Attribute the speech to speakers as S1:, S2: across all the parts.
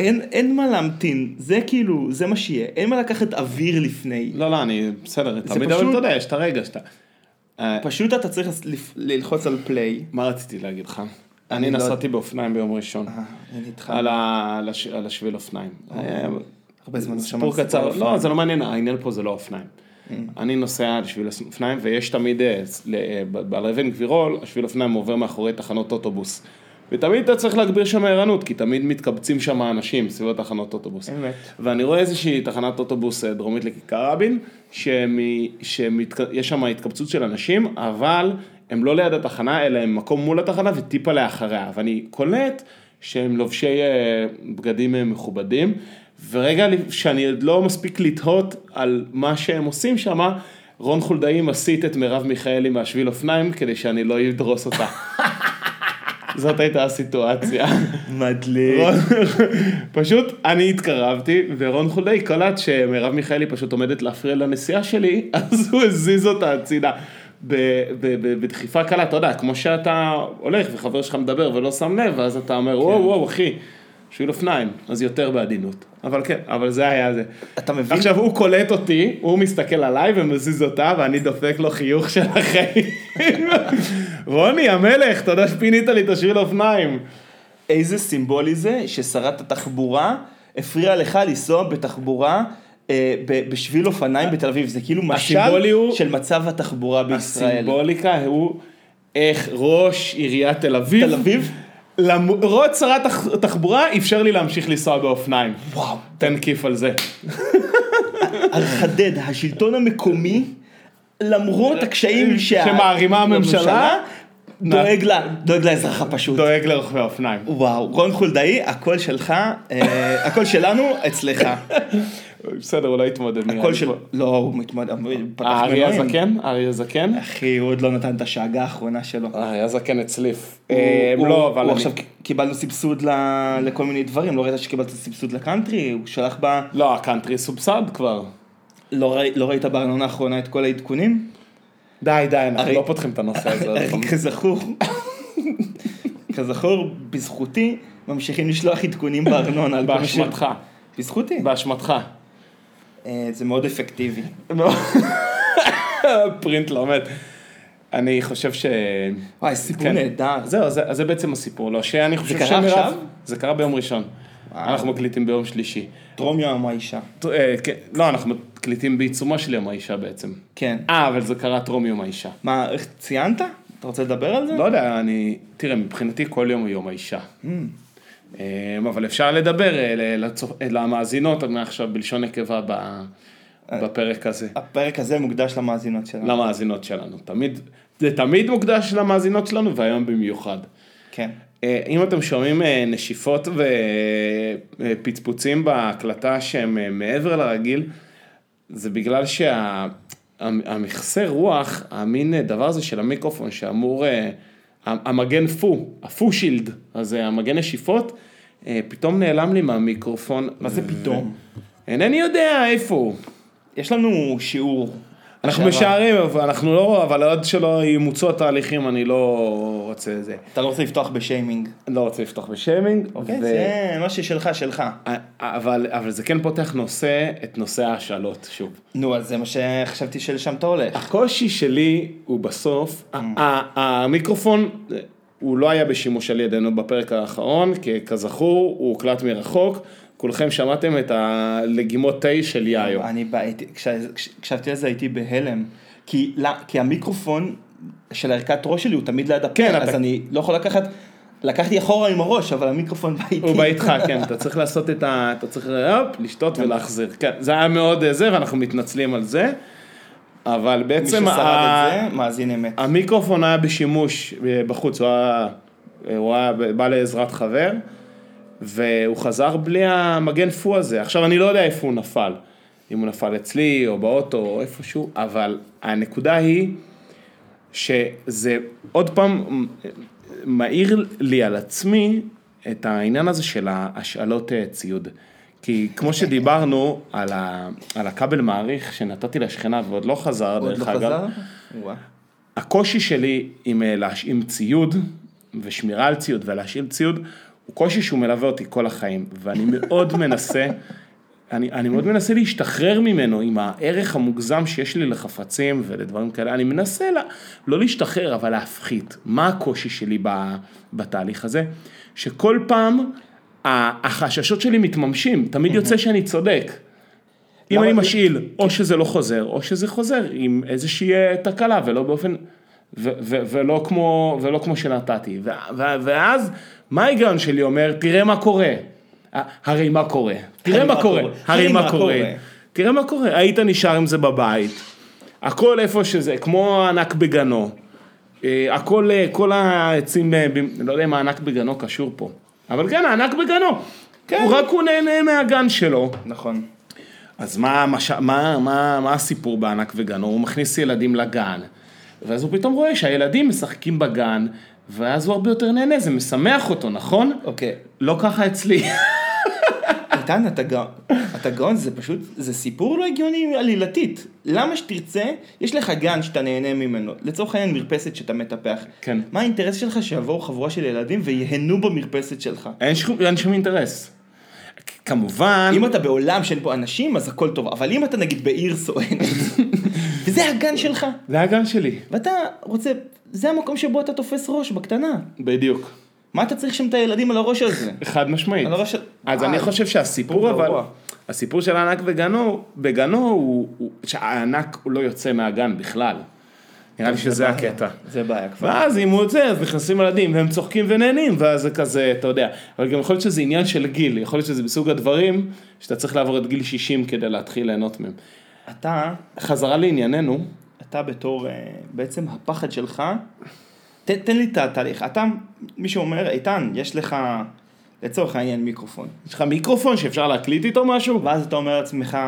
S1: אין, אין מה להמתין, זה כאילו, זה מה שיהיה, אין מה לקחת אוויר לפני.
S2: לא, לא, אני בסדר, תמיד אבל
S1: פשוט-
S2: אתה יודע, יש את הרגע שאתה... אה,
S1: פשוט אתה צריך לס- לפ- ללחוץ על פליי.
S2: מה רציתי להגיד לך?
S1: אני
S2: אני
S1: לא-
S2: נסעתי באופניים ביום ראשון.
S1: אה, אני איתך. אה,
S2: על ה- על הש- על השביל אופניים. היה-
S1: הרבה זמן לא
S2: סיפור
S1: שמעתי סיפור
S2: קצר,
S1: אופניים. אה.
S2: לא, זה לא מעניין, העניין פה זה לא אופניים. אני נוסע על שביל אופניים, ויש תמיד, אה, ס- ל- אה, ב- ב- על אבן גבירול, השביל אופניים עובר מאחורי תחנות אוטובוס. ותמיד אתה צריך להגביר שם ערנות, כי תמיד מתקבצים שם אנשים סביב התחנות אוטובוס.
S1: אמת.
S2: ואני רואה איזושהי תחנת אוטובוס אה, דרומית לכיכר רבין, שיש שם התקבצות של אנשים, אבל הם לא ליד התחנה, אלא הם מקום מול התחנה וטיפה לאחריה. ואני קולט שהם לובשי אה, בגדים אה, מכובדים, ורגע לפ- שאני עוד לא מספיק לתהות על מה שהם עושים שם, רון חולדאי מסית את מרב מיכאלי מהשביל אופניים כדי שאני לא אדרוס אותה. זאת הייתה הסיטואציה.
S1: מדליק.
S2: רון- פשוט אני התקרבתי ורון חולדאי קלט שמרב מיכאלי פשוט עומדת להפריע לנסיעה שלי אז הוא הזיז אותה הצידה. ב- ב- ב- בדחיפה קלה, אתה יודע, כמו שאתה הולך וחבר שלך מדבר ולא שם לב, ואז אתה אומר, וואו, וואו, אחי, שביל אופניים, אז יותר בעדינות. אבל כן, אבל זה היה זה.
S1: אתה מבין?
S2: עכשיו, הוא קולט אותי, הוא מסתכל עליי ומזיז אותה, ואני דופק לו חיוך של החיים. רוני, המלך, תודה שפינית לי את השביל אופניים.
S1: איזה סימבולי זה ששרת התחבורה הפריעה לך לנסוע בתחבורה אה, ב- בשביל אופניים בתל אביב, זה כאילו
S2: הסימבולי
S1: משל
S2: הוא-
S1: של מצב התחבורה בישראל.
S2: הסימבוליקה הוא איך ראש עיריית תל אביב,
S1: תל אביב?
S2: למרות שרת תח- התחבורה אפשר לי להמשיך לנסוע באופניים.
S1: וואו.
S2: תן כיף על זה.
S1: אז חדד, השלטון המקומי, למרות הקשיים שה-
S2: שמערימה הממשלה,
S1: דואג לה- דואג לאזרח הפשוט.
S2: דואג לרוכבי האופניים.
S1: וואו, רון חולדאי, הקול שלך, אה, הקול שלנו, אצלך.
S2: בסדר, הוא לא יתמודד. נראה
S1: הקול
S2: לי.
S1: של... לא, הוא מתמודד, הוא פתח
S2: אה, אריה
S1: מנועים.
S2: הזקן? אריה הזקן?
S1: אחי, הוא עוד לא נתן את השאגה האחרונה שלו.
S2: אה, אריה הזקן הצליף.
S1: הוא-
S2: אה,
S1: הוא-
S2: לא, אבל
S1: הוא
S2: אני...
S1: עכשיו קיבלנו סבסוד ל- לכל מיני דברים, לא ראית שקיבלת סבסוד לקאנטרי, הוא שלח ב...
S2: לא, הקאנטרי סובסד כבר.
S1: לא ראי- לא ראית בארנונה האחרונה את כל העדכונים?
S2: די, די, אנחנו
S1: אריה-
S2: לא פותחים את הנושא הזה. עוד פעם.
S1: אה, כזכור, כזכור, בזכותי ממשיכים לשלוח עדכונים בארנונה. על כל מה ש-
S2: באשמתך.
S1: בזכותי.
S2: באשמתך.
S1: אה, זה מאוד אפקטיבי.
S2: לא. פרינט לא מת. אני חושב ש...
S1: וואי, סיפור
S2: כן.
S1: נהדר.
S2: זהו, זה, אז זה בעצם הסיפור, לא, שאני חושב
S1: קרה
S2: שמירב-
S1: עכשיו?
S2: זה קרה ביום ראשון.
S1: וואו.
S2: אנחנו מקליטים ביום שלישי.
S1: טרום יום האישה.
S2: ת- אה, כן, לא, אנחנו מקליטים בעיצומו של יום האישה בעצם.
S1: כן.
S2: אה, אבל זה קרה טרום יום האישה.
S1: מה, איך ציינת? אתה רוצה לדבר על זה?
S2: לא יודע, אני... תראה, מבחינתי כל יום הוא יום האישה.
S1: Mm.
S2: אה, אבל אפשר לדבר אה, ל- לצופ- אה, למאזינות מעכשיו בלשון נקבה ב-
S1: אה.
S2: בפרק הזה.
S1: הפרק הזה מוקדש למאזינות
S2: לא.
S1: שלנו.
S2: למאזינות שלנו. תמיד, זה תמיד מוקדש למאזינות שלנו, והיום במיוחד.
S1: כן.
S2: אה, אם אתם שומעים אה, נשיפות ופצפוצים בהקלטה שהם אה, מעבר לרגיל, זה בגלל שהמכסה רוח, המין אה, דבר הזה של המיקרופון שאמור, אה, המגן פו, הפו שילד, אז אה, המגן נשיפות, אה, פתאום נעלם לי מהמיקרופון. אה,
S1: מה זה פתאום?
S2: אינני יודע איפה הוא.
S1: יש לנו שיעור.
S2: אנחנו
S1: לשעבר.
S2: משערים, אבל אנחנו לא, אבל עד שלא ימוצו התהליכים, אני לא רוצה זה.
S1: אתה לא רוצה לפתוח בשיימינג.
S2: לא רוצה לפתוח בשיימינג.
S1: אוקיי,
S2: ו-
S1: זה מה ששלך, שלך.
S2: אבל, אבל זה כן פותח נושא, את נושא ההשאלות שוב.
S1: נו, אז זה מה שחשבתי שלשם אתה הולך.
S2: הקושי שלי הוא בסוף, ה-
S1: Mm.
S2: ה- המיקרופון אה, הוא לא היה בשימוש על ידינו בפרק האחרון, כי כזכור הוא הוקלט מרחוק, כולכם שמעתם את הלגימות תה של יאיו.
S1: אני בא- הייתי, כש- כש- כשהקשבתי לזה הייתי בהלם. כי לא- כי המיקרופון של ערכת ראש שלי הוא תמיד ליד הפה,
S2: כן,
S1: אז
S2: אתה-
S1: אני לא יכול לקחת, לקחתי אחורה עם הראש, אבל המיקרופון בא איתי.
S2: הוא בא איתך, כן, אתה צריך לעשות את ה... אתה צריך הופ, לשתות ולהחזיר. כן, זה היה מאוד אה, זה, ואנחנו מתנצלים על זה, אבל
S1: מי
S2: בעצם...
S1: ששרד
S2: ה- אה,
S1: את זה, מאזין אמת.
S2: המיקרופון היה בשימוש אה, בחוץ, הוא היה, אה, הוא היה בא לעזרת חבר, והוא חזר בלי המגן פו הזה. עכשיו, אני לא יודע איפה הוא נפל, אם הוא נפל אצלי, או באוטו, או איפשהו, אבל הנקודה היא שזה עוד פעם מאיר לי על עצמי את העניין הזה של השאלות אה, ציוד. כי כמו שדיברנו על, ה, על הכבל מעריך שנתתי לשכנה ועוד לא חזר,
S1: עוד לא
S2: דרך אגב.
S1: חזר? וואה.
S2: הקושי שלי עם אה, להשאים ציוד ושמירה על ציוד ולהשאיל ציוד הוא קושי שהוא מלווה אותי כל החיים, ואני מאוד מנסה, אני, אני מאוד מנסה להשתחרר ממנו עם הערך המוגזם שיש לי לחפצים ולדברים כאלה, אני מנסה לה, לא להשתחרר, אבל להפחית. מה הקושי שלי ב, בתהליך הזה? שכל פעם ה- החששות שלי מתממשים, תמיד יוצא שאני צודק. אם
S1: למה-
S2: אני משאיל, או שזה לא חוזר, או שזה חוזר עם איזושהי אה, תקלה, ולא באופן, ו- ו- ולא כמו, ולא כמו שנתתי. ו- ו- ואז, מה ההיגיון שלי אומר, תראה מה קורה. ה- הרי מה קורה. תראה מה קורה. הרי מה קורה. תראה מה קורה. היית נשאר עם זה בבית. הכל איפה שזה, כמו הענק בגנו. אה, הכל, אה, כל העצים, אה, ב- לא יודע אם הענק בגנו קשור פה. אבל כן, הענק בגנו.
S1: כן.
S2: כן. רק הוא נהנה מהגן שלו.
S1: נכון.
S2: אז מה, מה, מה, מה, מה הסיפור בענק וגן? הוא מכניס ילדים לגן, ואז הוא פתאום רואה שהילדים משחקים בגן, ואז הוא הרבה יותר נהנה, זה משמח אותו, נכון?
S1: אוקיי.
S2: לא ככה אצלי.
S1: איתן, אתה גאון, אתה גאון, זה פשוט, זה סיפור לא הגיוני עלילתית. למה שתרצה, יש לך גן שאתה נהנה ממנו, לצורך העניין מרפסת שאתה מטפח.
S2: כן.
S1: מה האינטרס שלך שיבואו חבורה של ילדים וייהנו במרפסת שלך?
S2: אין שום, אין שום אינטרס. כ- כמובן,
S1: אם אתה בעולם שאין פה אנשים, אז הכל טוב, אבל אם אתה נגיד בעיר סואנת, וזה הגן שלך,
S2: זה הגן שלי.
S1: ואתה רוצה, זה המקום שבו אתה תופס ראש, בקטנה.
S2: בדיוק.
S1: מה אתה צריך שם את הילדים על הראש הזה?
S2: חד משמעית.
S1: על הראש...
S2: אז
S1: אה,
S2: אני חושב שהסיפור
S1: סיפור
S2: אבל,
S1: גרוע.
S2: הסיפור של הענק וגנו, בגנו הוא, הוא שהענק הוא לא יוצא מהגן בכלל. נראה לי שזה הקטע.
S1: אה, זה בעיה כבר.
S2: ואז אם הוא יוצא, אז נכנסים ילדים, והם צוחקים ונהנים, ואז זה כזה, אתה יודע. אבל גם יכול להיות שזה עניין של גיל, יכול להיות שזה בסוג הדברים שאתה צריך לעבור את גיל 60 כדי להתחיל ליהנות מהם.
S1: אתה...
S2: חזרה לענייננו,
S1: אתה בתור, אה, בעצם הפחד שלך, תן, תן לי את התהליך. אתה, מישהו אומר, איתן, יש לך, לצורך העניין, מיקרופון.
S2: יש לך מיקרופון שאפשר להקליט איתו משהו?
S1: ואז אתה אומר לעצמך,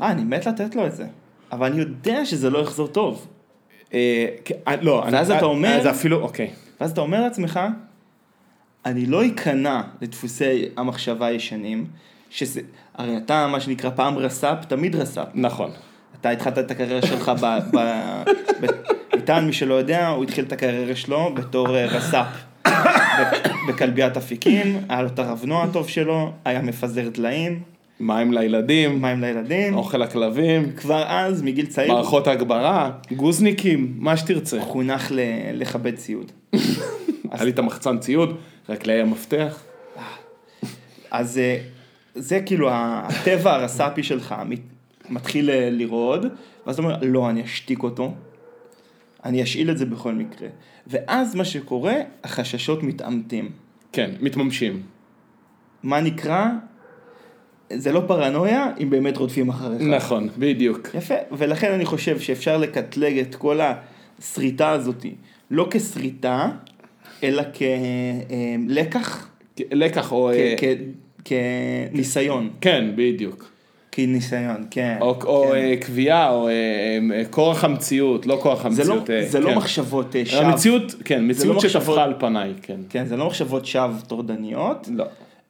S1: אה, אני מת לתת לו את זה. אבל אני יודע שזה לא יחזור טוב.
S2: אה, כן, אה, לא,
S1: ואז
S2: אני-
S1: אתה
S2: אה,
S1: אומר-
S2: אה, זה אפילו, אוקיי.
S1: ואז אתה אומר לעצמך, אני לא אכנע לדפוסי המחשבה הישנים, שזה, הרי אתה, מה שנקרא, פעם רס"פ, תמיד רס"פ.
S2: נכון.
S1: אתה התחלת את הקריירה שלך ב... ב... ב... איתן, מי שלא יודע, הוא התחיל את הקריירה שלו בתור אה, רס"פ ב- בכלביית אפיקים, היה לו את הרבנוע הטוב שלו, היה מפזר דליים,
S2: מים לילדים,
S1: מים לילדים,
S2: אוכל לכלבים,
S1: כבר אז, מגיל צעיר,
S2: מערכות הגברה, גוזניקים, מה שתרצה.
S1: הוא חונך ל... לכבד ציוד.
S2: היה לי את המחצן ציוד, רק לי המפתח.
S1: אז אה, זה כאילו ה- הטבע הרס"פי שלך, מת- מתחיל אה, לרעוד, ואז אתה אומר, לא, אני אשתיק אותו, אני אשאיל את זה בכל מקרה. ואז מה שקורה, החששות מתעמתים.
S2: כן, מתממשים.
S1: מה נקרא, זה לא פרנויה אם באמת רודפים אחריך.
S2: נכון, בדיוק.
S1: יפה, ולכן אני חושב שאפשר לקטלג את כל הסריטה הזאת, לא כסריטה, אלא אה, כלקח,
S2: לקח או...
S1: כן,
S2: אה,
S1: כניסיון,
S2: כן, בדיוק.
S1: כניסיון, כן.
S2: או, או
S1: כן.
S2: אה, קביעה, או אה, אה, אה, כורח המציאות, לא
S1: זה
S2: כורח המציאות.
S1: לא-
S2: אה,
S1: זה לא
S2: כן.
S1: מחשבות אה, שווא.
S2: המציאות, כן, מציאות
S1: מחשבות.
S2: שטפחה על פניי, כן.
S1: כן, זה לא מחשבות שווא טורדניות,
S2: לא.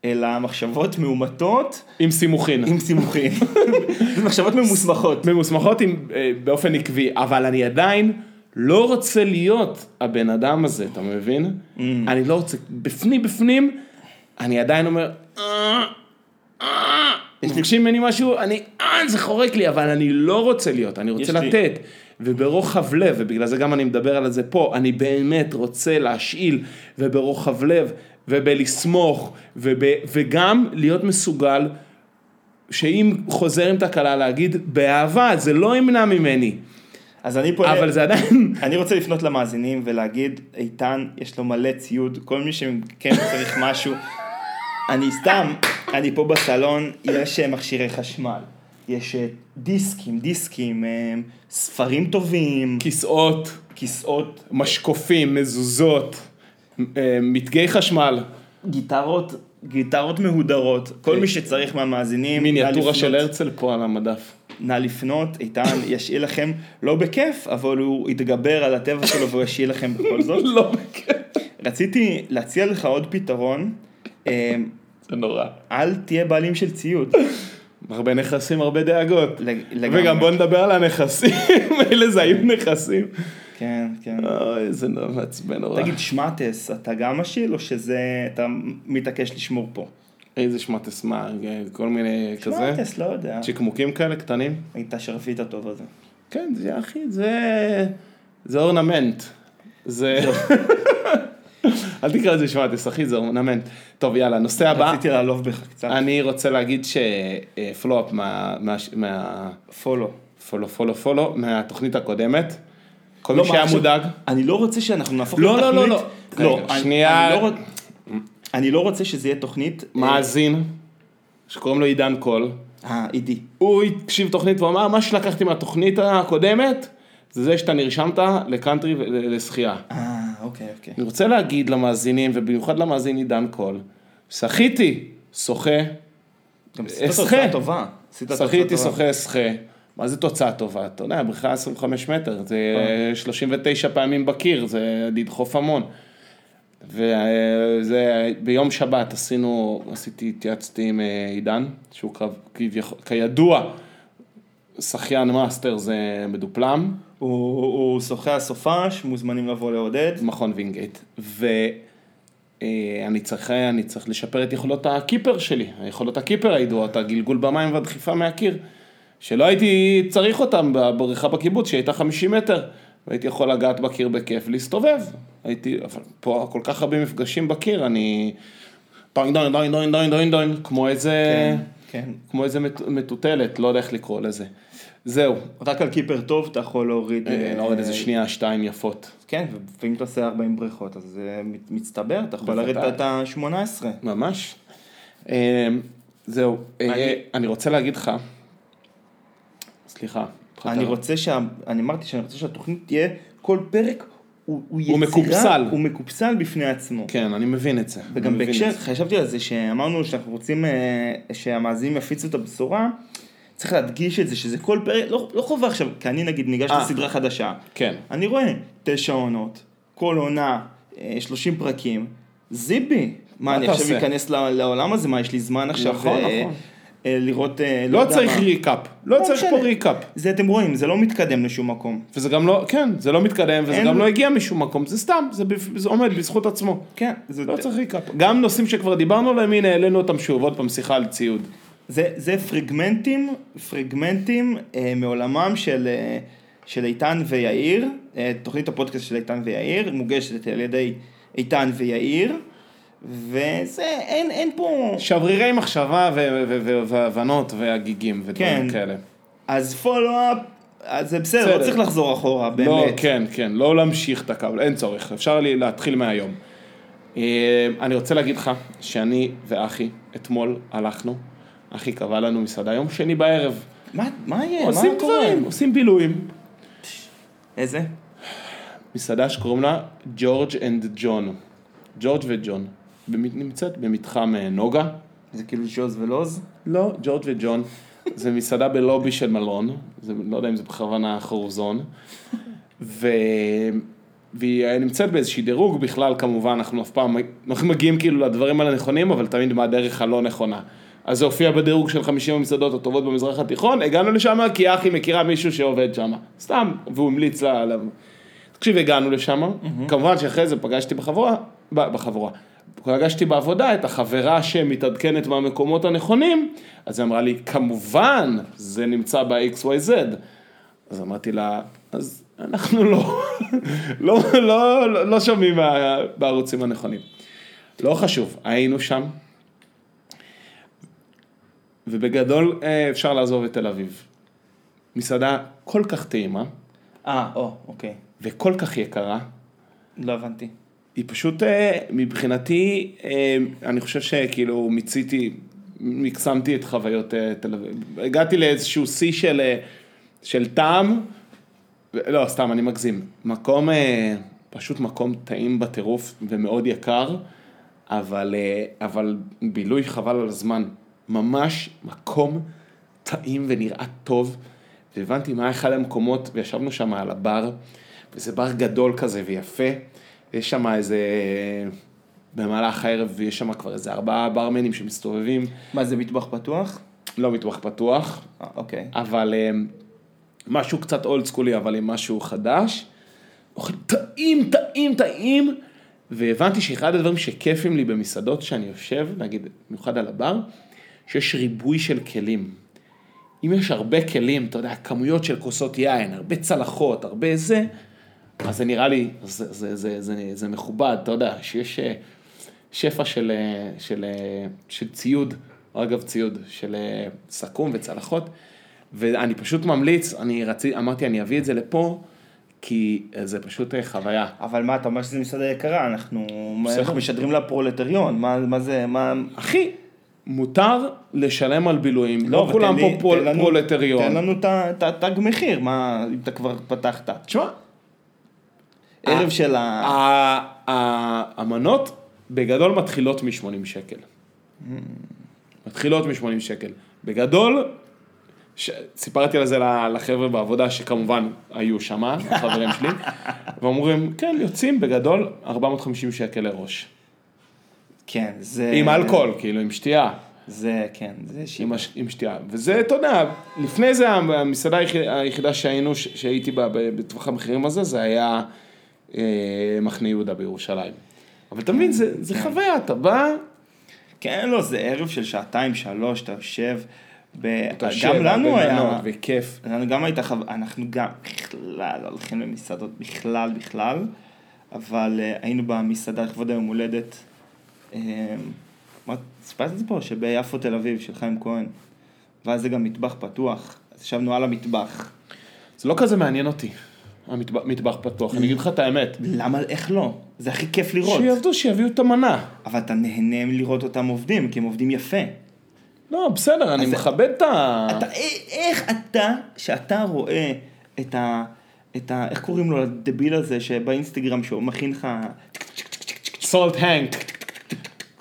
S1: אלא מחשבות מאומתות
S2: עם סימוכין.
S1: עם סימוכים. זה מחשבות ממוסמכות.
S2: ממוסמכות עם, אה, באופן עקבי, אבל אני עדיין לא רוצה להיות הבן אדם הזה, אתה מבין?
S1: Mm.
S2: אני לא רוצה, בפנים בפנים, אני עדיין אומר, "אה, אה, מבקשים ממני משהו, אני, אה, זה חורק לי, אבל אני לא רוצה להיות, אני רוצה
S1: יש לי-
S2: לתת. וברוחב לב, ובגלל זה גם אני מדבר על זה פה, אני באמת רוצה להשאיל, וברוחב לב, ובלסמוך, וב, וגם להיות מסוגל שאם חוזר עם תקלה להגיד באהבה זה לא ימנע ממני
S1: אז אני פונה...
S2: אבל זה עדיין
S1: אני רוצה לפנות למאזינים ולהגיד, איתן, יש לו מלא ציוד, כל מי שמכם צריך משהו. אני סתם, אני פה בסלון, יש אה, מכשירי חשמל, יש אה, דיסקים, דיסקים, אה, ספרים טובים,
S2: כיסאות
S1: כיסאות,
S2: משקופים מזוזות אה, מתגי חשמל
S1: גיטרות, גיטרות מהודרות, כל מי שצריך מהמאזינים, נא
S2: אה, מיניאטורה
S1: לפנות.
S2: של הרצל פה על המדף
S1: נא לפנות, איתן ישאיל לכם, לא בכיף, אבל הוא יתגבר על הטבע שלו והוא ישאיל לכם בכל זאת.
S2: לא בקטע
S1: רציתי להציע לך עוד פתרון. אה,
S2: זה נורא
S1: אל תהיה בעלים של ציוד.
S2: הרבה נכסים הרבה דאגות
S1: לג- לגמרי.
S2: וגם בוא נדבר על הנכסים אלה זה היו נכסים
S1: כן, כן.
S2: אוי, זה נורא מעצבן נורא.
S1: תגיד, שמטס, אתה גם משיל או שזה, אתה מתעקש לשמור פה?
S2: איזה שמטס, מה, כל מיני כזה?
S1: שמטס, לא יודע.
S2: צ'יקמוקים כאלה קטנים?
S1: הייתה שרפית הטוב הזה.
S2: כן, זה אחי, זה... זה אורנמנט. זה...
S1: לא.
S2: אל תקרא לזה שמטס, אחי, זה אורנמנט. טוב, יאללה, נושא הבא.
S1: רציתי לעלוב בך קצת.
S2: אני רוצה להגיד שפלו-אפ מה... מה- מה...
S1: פולו.
S2: פולו, פולו, פולו, מהתוכנית הקודמת. כל
S1: לא,
S2: מי
S1: מה,
S2: שהיה
S1: עכשיו-
S2: מודאג.
S1: אני לא רוצה שאנחנו נהפוך
S2: לא, לא,
S1: לתוכנית.
S2: לא, לא. רגע,
S1: אני-
S2: שנייה.
S1: אני לא רוצ- אני לא רוצה שזה יהיה תוכנית.
S2: מאזין, שקוראים לו עידן קול,
S1: אה, אידי.
S2: הוא הקשיב תוכנית והוא אמר, מה שלקחתי מהתוכנית הקודמת, זה זה שאתה נרשמת לקאנטרי ולשחייה.
S1: אה, אוקיי, אוקיי.
S2: אני רוצה להגיד למאזינים, ובמיוחד למאזין עידן קול, שחיתי, שוחה,
S1: גם עשית
S2: אסחה.
S1: תוצאה טובה. עשית תוצאה
S2: שחיתי,
S1: טובה.
S2: שוחה, שוחה. מה זה תוצאה טובה? אתה יודע, בריכה 25 מטר, זה
S1: כן.
S2: 39 פעמים בקיר, זה לדחוף המון. וזה, ביום שבת עשינו, עשיתי, התייעצתי עם אה, עידן, שהוא קרב- כביכול, כידוע, שחיין מאסטר זה מדופלם,
S1: הוא הוא שוחה הסופש, מוזמנים לבוא לעודד.
S2: מכון וינגייט, ואני צריך, אני צריך לשפר את יכולות הקיפר שלי, היכולות הקיפר הידועות, הגלגול במים והדחיפה מהקיר, שלא הייתי צריך אותם בבריכה בקיבוץ שהייתה 50 מטר, והייתי יכול לגעת בקיר בכיף, להסתובב, הייתי, אבל פה כל כך הרבה מפגשים בקיר, אני דוין דוין דוין דוין דוין דוין דוין, כמו איזה,
S1: כן, כן.
S2: כמו איזה מט- מטוטלת, לא יודע איך לקרוא לזה. זהו,
S1: רק על קיפר טוב אתה יכול להוריד...
S2: אה,
S1: אה,
S2: נוריד איזה שנייה, שתיים יפות.
S1: כן, ו- ואם אתה עושה 40 בריכות, אז זה מת- מצטבר, אתה יכול לרדת
S2: בוודאי.
S1: את ה-18.
S2: ממש. אמ, זהו, אה,
S1: אני-
S2: אני רוצה להגיד לך, סליחה,
S1: אני רוצה שה... אני אמרתי שאני רוצה שהתוכנית תהיה, כל פרק הוא, הוא יצירה,
S2: מקופסל.
S1: הוא מקופסל בפני עצמו.
S2: כן, אני מבין את זה.
S1: וגם
S2: אני מבין
S1: בהקשר,
S2: את זה.
S1: חשבתי על זה שאמרנו שאנחנו רוצים אה, שהמאזינים יפיצו את הבשורה, צריך להדגיש את זה, שזה כל פרק, לא, לא חובה עכשיו, כי אני נגיד ניגש
S2: אה.
S1: לסדרה חדשה,
S2: כן.
S1: אני רואה תשע עונות, כל עונה, אה, 30 פרקים, זיבי, מה
S2: מה
S1: אני
S2: אתה
S1: עכשיו
S2: עושה?
S1: אכנס ל- לעולם הזה, מה יש לי זמן עכשיו,
S2: נכון,
S1: אה,
S2: נכון.
S1: אה, לראות, אה,
S2: לא
S1: יודע
S2: צריך
S1: מה.
S2: ריקאפ, לא צריך פה
S1: משנה.
S2: ריקאפ.
S1: זה אתם רואים, זה לא מתקדם לשום מקום.
S2: וזה גם לא, כן, זה לא מתקדם, וזה
S1: אין-
S2: גם לא הגיע משום מקום, זה סתם, זה בפ- זה עומד בזכות עצמו.
S1: כן, זה,
S2: לא צריך ריקאפ. גם נושאים שכבר דיברנו עליהם, הנה העלינו אותם שוב, עוד פעם שיחה על ציוד.
S1: זה, זה פרגמנטים, פרגמנטים אה, מעולמם של, אה, של איתן ויאיר, אה, תוכנית הפודקאסט של איתן ויאיר, מוגשת על ידי איתן ויאיר, וזה, אין, אין פה...
S2: שברירי מחשבה ו- ו- ו- והבנות והגיגים
S1: כן.
S2: ודברים כאלה.
S1: אז פולו-אפ, אז זה בסדר,
S2: בסדר.
S1: לא צריך לחזור אחורה, באמת.
S2: לא, כן, כן, לא להמשיך את הקו, אין צורך, אפשר לי להתחיל מהיום. אה, אני רוצה להגיד לך שאני ואחי אתמול הלכנו, אחי קבע לנו מסעדה יום שני בערב.
S1: מה, אה, מה יהיה?
S2: עושים
S1: מה קורה?
S2: דברים, עושים בילויים.
S1: איזה?
S2: מסעדה שקוראים לה ג'ורג' אנד ג'ון. ג'ורג' וג'ון. במ- נמצאת במתחם אה, נוגה.
S1: זה כאילו שוז ולוז?
S2: לא, ג'ורג' וג'ון. זה מסעדה בלובי של מלון, זה, לא יודע אם זה בכוונה חרוזון. ו... והיא נמצאת באיזשהו דירוג בכלל, כמובן, אנחנו אף פעם, אנחנו מגיעים כאילו לדברים האלה נכונים, אבל תמיד מהדרך הלא נכונה. אז זה הופיע בדירוג של 50 המסעדות הטובות במזרח התיכון, הגענו לשם כי אחי מכירה מישהו שעובד שם, סתם, והוא המליץ לה עליו. תקשיב, הגענו לשם, כמובן שאחרי זה פגשתי בחבורה, ב- בחבורה, פגשתי בעבודה את החברה שמתעדכנת מהמקומות הנכונים, אז היא אמרה לי, כמובן, זה נמצא ב-XYZ. אז אמרתי לה, אז אנחנו לא, לא, לא, לא, לא שומעים מה- בערוצים הנכונים. לא חשוב, היינו שם, ובגדול אה, אפשר לעזוב את תל אביב. מסעדה כל כך טעימה,
S1: אה, או, אוקיי.
S2: וכל כך יקרה,
S1: לא הבנתי.
S2: היא פשוט, אה, מבחינתי, אה, אני חושב שכאילו מיציתי, מקסמתי את חוויות אה, תל אביב. הגעתי לאיזשהו שיא של, אה, של טעם, ו- לא, סתם, אני מגזים. מקום, אה, פשוט מקום טעים בטירוף ומאוד יקר, אבל, אה, אבל בילוי חבל על הזמן. ממש מקום טעים ונראה טוב. והבנתי מה אחד המקומות, וישבנו שם על הבר, וזה בר גדול כזה ויפה. יש שם איזה, אה, במהלך הערב יש שם כבר איזה ארבעה ברמנים שמסתובבים,
S1: מה, זה מטבח פתוח?
S2: לא מטווח פתוח,
S1: אה, אוקיי.
S2: אמ, אבל אה, משהו קצת אולד סקולי, אבל עם משהו חדש. אוכל טעים, טעים, טעים, והבנתי שאחד הדברים שכיפים לי במסעדות שאני יושב, נגיד, במיוחד על הבר, שיש ריבוי של כלים. אם יש הרבה כלים, אתה יודע, כמויות של כוסות יין, הרבה צלחות, הרבה זה, אז זה נראה לי, זה, זה, זה, זה, זה מכובד, אתה יודע, שיש אה, שפע של, אה, של, אה, של ציוד, או אגב ציוד, של אה, סכו"ם וצלחות, ואני פשוט ממליץ, אני רציתי, אמרתי, אני אביא את זה לפה, כי אה, זה פשוט אה, חוויה.
S1: אבל מה, אתה אומר שזה מסעדה יקרה, אנחנו
S2: בסדר.
S1: אנחנו משדרים לפרולטריון, מה מה זה, מה...
S2: אחי, מותר לשלם על בילויים, לא,
S1: אבל
S2: כולם
S1: תן
S2: פה
S1: לי-
S2: פרול-
S1: תן לנו-
S2: פרולטריון.
S1: תן לנו את ה- את התג מחיר, מה, אם אתה כבר פתחת.
S2: תשמע, אה.
S1: ערב של ה...
S2: ה- ה- המנות בגדול מתחילות מ-80 שקל. מתחילות מ-80 שקל. בגדול, ש... סיפרתי על זה ל- לחבר'ה בעבודה, שכמובן היו שמה, החברים שלי, ואומרים, כן, יוצאים בגדול 450 שקל לראש.
S1: כן, זה...
S2: עם אלכוהול, כאילו, עם שתייה.
S1: זה, כן, זה שימה.
S2: עם, הש... עם שתייה. וזה, אתה יודע, לפני זה המסעדה היחיד- היחידה שהיינו, ש... שהייתי בה ב- בטווח המחירים הזה, זה היה אה, מחנה יהודה בירושלים. אבל אתה מבין, זה, זה חוויה, אתה בא,
S1: כן, לא, זה ערב של שעתיים, שלוש, אתה יושב. ב...
S2: אתה
S1: גם לנו היה...
S2: בבנות, וכיף.
S1: לנו גם הייתה חוויה, אנחנו גם בכלל לא הולכים למסעדות בכלל בכלל, אבל uh, היינו במסעדה לכבוד היום הולדת. אה, מה, סיפרתי את זה פה, שביפו תל אביב, של חיים כהן. ואז זה גם מטבח פתוח, אז ישבנו על המטבח.
S2: זה לא כזה מעניין אותי, המטבח מטבח פתוח, אני אגיד לך את האמת.
S1: למה, איך לא? זה הכי כיף לראות.
S2: שיעבדו, שיביאו את המנה.
S1: אבל אתה נהנה מלראות אותם עובדים, כי הם עובדים יפה.
S2: לא, בסדר, אני
S1: אז-
S2: מכבד את ה...
S1: אתה, א- איך אתה, שאתה רואה את ה... את ה... איך קוראים לו לדביל הזה שבאינסטגרם שהוא מכין לך...
S2: סולט הנק.